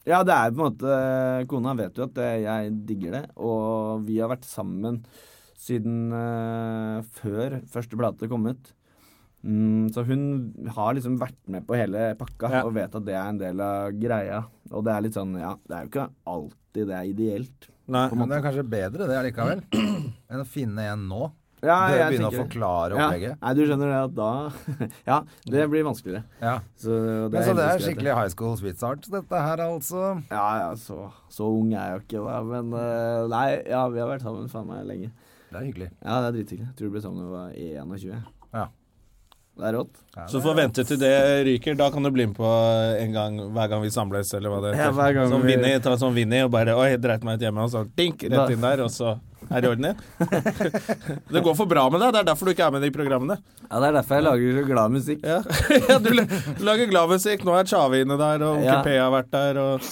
ja, det er på en måte Kona vet jo at eh, jeg digger det, og vi har vært sammen siden eh, før første plate kom ut. Mm, så hun har liksom vært med på hele pakka Ja. og vet at det er en del av greia. Og det er litt sånn, ja, det er jo ikke alltid det er ideelt. Nei. Men det er kanskje bedre det allikevel, enn å finne en nå. Ja, Du jeg begynne å tenker- forklare ja. opplegget. Nei, du skjønner det at da Ja, det blir vanskeligere. Ja. Så det, Men så det er heldigvis greit, det. skikkelig high school sweets art, dette her altså. Ja, ja, så, så ung er jeg jo ikke, da. Men eh, nei, ja, vi har vært sammen faen meg lenge. Det er hyggelig. Ja, det er drithyggelig. Tror vi ble sammen da vi var 21. Ja. Det er rått. Så får vente til det ryker. Da kan du bli med på en gang hver gang vi samles, eller hva det Ja, hver gang Sånn vi- Vinni, ta sånn Vinni og bare Oi, dreit meg ut hjemme, og så dink, Da- rett inn der, og så Er det i orden? det? Det går for bra med deg, det er derfor du ikke er med i de programmene. Ja, Det er derfor jeg lager så glad musikk. Ja, Du la- lager glad musikk, nå er Tjave inne der, og onkel Ja. P har vært der, og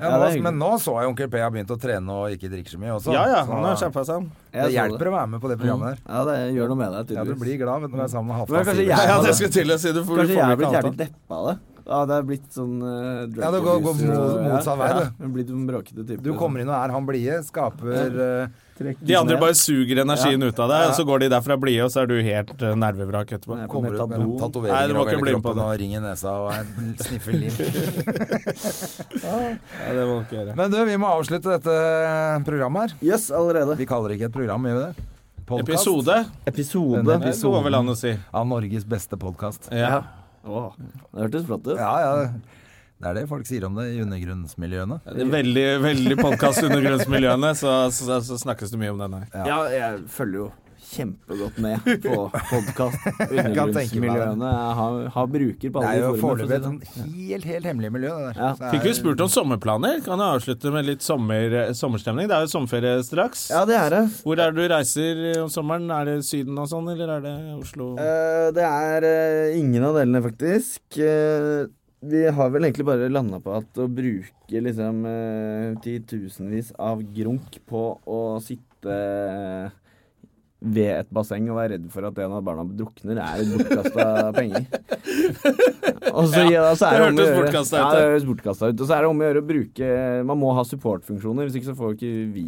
Ja, Ja, det er nå, hyggelig. men nå så jeg onkel P har begynt å trene og ikke drikke så mye også. Ja ja, Så han har kjempa seg. han. Jeg det så hjelper å være med på det programmet der. Ja, det gjør noe med deg, Ja, du tydeligvis. blir glad vet du, når du er sammen med Men Halvdan kanskje Sivertsen. jeg- Ja, det skulle jeg til å si. Du får, du Kanskje får jeg bli er blitt kalt jævlig han. deppa av det. Ja, det er blitt sånn uh, drug Ja, det går- går abuser og- mot- motsatt vei, eh, ja, det. jeg Blir en bråkete type. Du kommer inn og er han blide, skaper eh, De andre bare suger energien ut av deg, og så går de derfra blide, og så er du helt eh, nervevrak etterpå. Nei, Kommer ut med Metadon. Nei, du tatoveringer må over ikke bli hele med på kroppen og ring i nesa og en- sniffer lim. Ja, det må du ikke gjøre. Men du, vi må avslutte dette eh, programmet her. Yes, allerede. Vi kaller det ikke et program, gjør vi det? Podcast Episode? Episode. Det går vel an å si. av Norges beste podkast. Ja. Åh, det hørtes flott ut. Ja, ja. Det er det folk sier om det i undergrunnsmiljøene. Det er veldig veldig podkast under grønnsmiljøene, så, så, så snakkes det mye om den her. Ja, jeg følger jo kjempegodt med på podkast. kan tenke meg det. Undergrunnsmiljøene jeg har, har bruker på Det alle er jo de foreløpig forumene. et for å si det sånn. sånn helt, helt hemmelig miljø, det der. Ja. Så det er- Fikk vi spurt om sommerplaner? Kan jeg avslutte med litt sommer, eh, sommerstemning? Det er jo sommerferie straks. Ja, det er det. Hvor er det du reiser om sommeren? Er det Syden og sånn, eller er det Oslo? Eh, det er eh, ingen av delene, faktisk. Eh, vi har vel egentlig bare landa på at å bruke liksom eh, titusenvis av grunk på å sitte eh, ved et basseng og være redd for at en av barna drukner, er et bortkasta penger. Og så, ja, så det er om å hørtes gjøre- bortkastet ut, Ja, det. det høres bortkasta ut. Og så er det om å gjøre å bruke Man må ha supportfunksjoner, hvis ikke så får ikke vi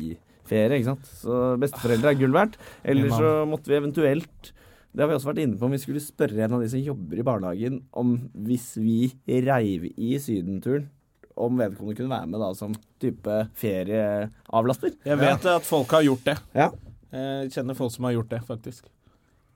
ferie, ikke sant. Så besteforeldre er gull verdt. Eller så måtte vi eventuelt det har vi også vært inne på om vi skulle spørre en av de som jobber i barnehagen, om hvis vi reiv i Sydenturen, om vedkommende kunne være med da som type ferieavlaster. Jeg vet at folk har gjort det. Ja. Jeg kjenner folk som har gjort det, faktisk.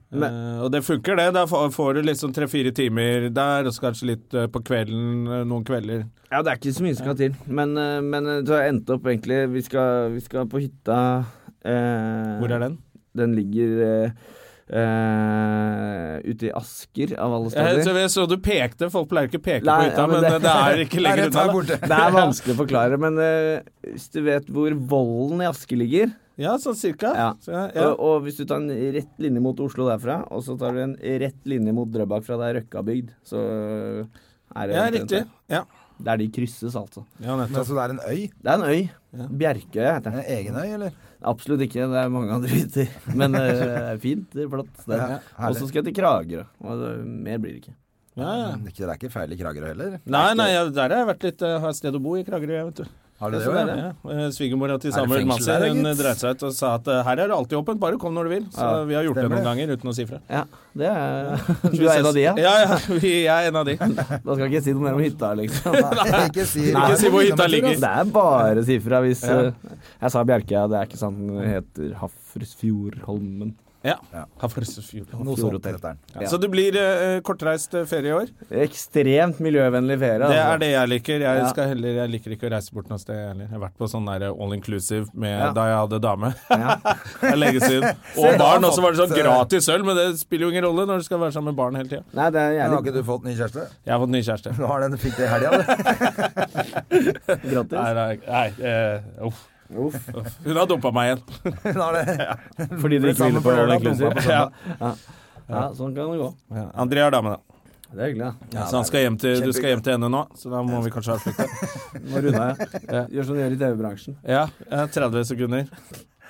Men- Eh, og det funker, det. Da fa- får du liksom tre-fire timer der, og så kanskje litt eh, på kvelden eh, noen kvelder. Ja, det er ikke så mye som skal til. Men, eh, men eh, så har jeg endt opp egentlig Vi skal, vi skal på hytta eh, Hvor er den? Den ligger eh, eh, ute i Asker, av alle Jeg, steder. Eh, så, jeg så du pekte. Folk pleier ikke å peke Nei, på hytta, ja, men men, det- eh, det er ikke Nei, lenger rett her unna. da. borte. Det er vanskelig å forklare, men eh, hvis du vet hvor Vollen i Asker ligger Ja, sånn cirka. Ja. Så, ja. Og, og hvis du tar en rett linje mot Oslo derfra, og så tar du en rett linje mot Drøbak fra der Røkka er bygd, så eh, er det ja, omtrent riktig. Ja, det. Der de krysses, altså. ja Men nettopp. så det er en øy? Det er en øy. Bjerkøy heter En det. egen øy, eller? Absolutt ikke, det er mange andre hytter. Men eh, det er fint, det er flott sted. Ja, herlig. og så skal jeg til Kragerø. Og det, mer blir det ikke. Ja, ja. Mm. Men ikke- Det er ikke feil i Kragerø heller? Nei, nei, jeg, der har jeg vært litt eh, Har et sted å bo i Kragerø, jeg, vet du. Har du det Så òg? der, Ja? ja. Eh, Svigermora til Er det Samuel fengsel Madsen der, hun gitt? dreide seg ut og sa at eh, her er det alltid åpent, bare kom når du vil. Så Ja, vi har gjort det stemmer noen ganger uten å si fra. Ja, det er Du er en av de, ja? Ja, ja, vi er en av de. Da skal jeg ikke si noe mer om hytta, liksom. Ikke si, Ikke si hvor hytta ligger. Det er bare sifra hvis eh, Jeg sa Bjerkøy, det er ikke sant. Den heter Hafrsfjordholmen. Ja. Ja. Havresfjord. Noe sånt Fjordhotell. heter den. Ja. Så det blir eh, kortreist eh, ferie i år. Ekstremt miljøvennlig ferie. Det altså. er det jeg liker. Jeg, Ja. skal heller, jeg liker ikke å reise bort noe sted jeg heller. Jeg har vært på sånn der all inclusive med, Ja. da jeg hadde dame. Ja. Det er lenge siden. Og barn også var det sånn eh, gratis øl, men det spiller jo ingen rolle når du skal være sammen med barn hele tida. Nei, det er Men har jævlig ikke du fått ny kjæreste? Jeg har fått ny kjæreste. Du har den du fikk det i helga, du. Nei, gratis. nei, nei eh, uff. Uff. Hun har dumpa meg igjen. Hun har det. Fordi dere ikke ville Sammen på på all lørdag, inclusive. dumpa på Ja. Ja, sånn kan det gå. Ja. André har dame, da. Det er hyggelig, da. så han skal hjem til, du skal hjem til henne nå, så da må vi kanskje avslutte. Nå runder jeg. Gjør som du gjør i TV-bransjen. Ja, eh, 30 sekunder.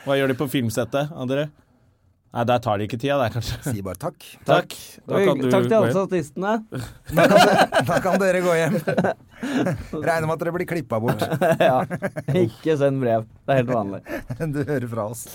Hva gjør de på filmsettet, André? Nei, der tar de ikke tida, der, kanskje. Si bare takk. Takk. Da Takk kan du til alle gå hjem. statistene. Da kan, dere, da kan dere gå hjem. Regner med at dere blir klippa bort. Ja. Ikke send brev. Det er helt vanlig. Du hører fra oss.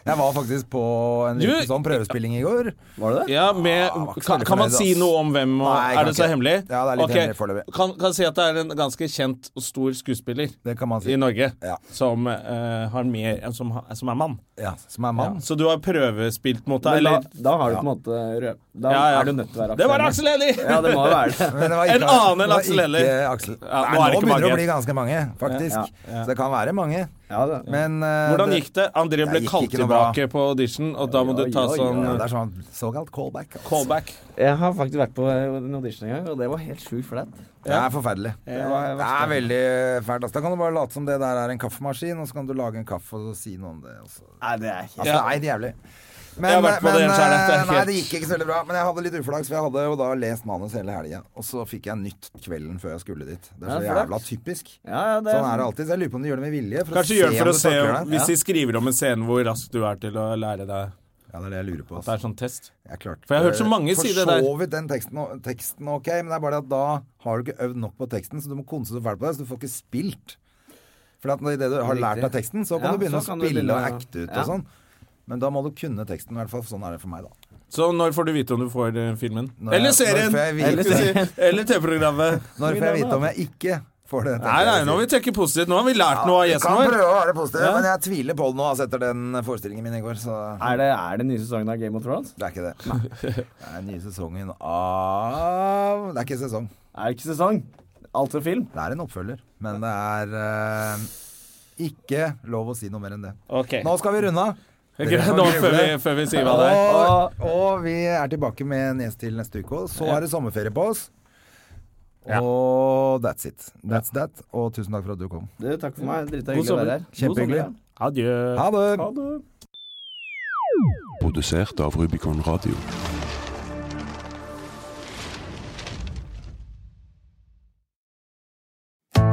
Jeg var faktisk på en Du- liten sånn prøvespilling i går. Var det det? Ja, med, Ah, var ikke så kan, veldig kan man fornøyd, si ass. noe om hvem? Og, Nei, kan er det så ikke. hemmelig? Ja, det er litt Ok. hemmelig foreløpig. Kan, kan si at det er en ganske kjent og stor skuespiller Det kan man si. i Norge Ja. som, eh, har mer, som, ha- som er mann. Ja, som er mann. Så du har prøvespilt mot deg, Men da, eller? da har du på en måte røp, Da Ja, ja. er du nødt til å være Det var Hennie. Aksel Hennie! Ja, det må jo være det. Men det var En annen enn det var Aksel ikke Hennie. Aksel. Ja, Nei, nå er nå, det ikke begynner det mange. å bli ganske mange, faktisk. Ja, Så det kan være mange. Ja, det. Men eh, Hvordan det- gikk det? André ble Det gikk kalt ikke noe bra. tilbake på audition, og da må du ta Oi, oi, sånn ja, Det er sånn såkalt callback. altså. callback. Jeg har faktisk vært på eh, en audition en gang, og det var helt sjukt flaut. Det er forferdelig. Det, var- er veldig fælt. Altså, da kan du bare late som det der er en kaffemaskin, og så kan du lage en kaffe og si noe om det. Også. Nei, det er Altså, helt Ja. det er helt jævlig. Men, Jeg har vært på men, det, så er det- det er eh, nei, helt- det gikk ikke så veldig bra. Men jeg hadde litt uflaks, for jeg hadde jo da lest manus hele helga. Og så fikk jeg nytt kvelden før jeg skulle dit. Det er så Ja, flaks. jævla typisk. Ja, ja, det Sånn er det alltid. Så jeg lurer på om de gjør det med vilje. For Kanskje gjør det for å se takler det. hvis de skriver om en scene hvor raskt du er til å lære deg Ja, det er det jeg lurer på. at det er sånn test. Jeg klarte, For jeg har hørt så mange si det der. For så vidt den teksten, o- teksten ok, men det er bare det at da har du ikke øvd nok på teksten, så du må konse så fælt på det, så du får ikke spilt. For at idet du har Riktig. lært av teksten, så kan Ja, du begynne så å kan du spille begynne og å- acte ut ja. og sånn. Men da må du kunne teksten, i hvert fall. Sånn er det for meg, da. Så når får du vite om du får eh, filmen? Når Eller jeg- serien! når får jeg vite- Eller serien. Eller TV-programmet. Når får jeg vite om jeg ikke får det? Nei, nei, nå har vi tenke positivt. Nå har vi lært noe av gjesten Kan vår. prøve å være positiv, men jeg tviler på det nå, altså, etter den forestillingen min i går, så Er det, er det nye sesongen av Game of Thrones? det er ikke det. Det er nye sesongen av Det er ikke sesong. Er det ikke sesong? Altså film? Det er en oppfølger, men det er eh, ikke lov å si noe mer enn det. Ok, Nå skal vi runde av. Ok, Nå før vi, før vi sier hva det er. Og, og vi er tilbake med en gjest til neste uke. Og så er det sommerferie på oss. Ja. Og that's it. That's that. Og tusen takk for at du kom. Du, takk for meg. Drita God hyggelig å være sommer. her. God sommer, ja. Kjempehyggelig. Adjø. Ha det! Ha det. Produsert av Rubicon Radio.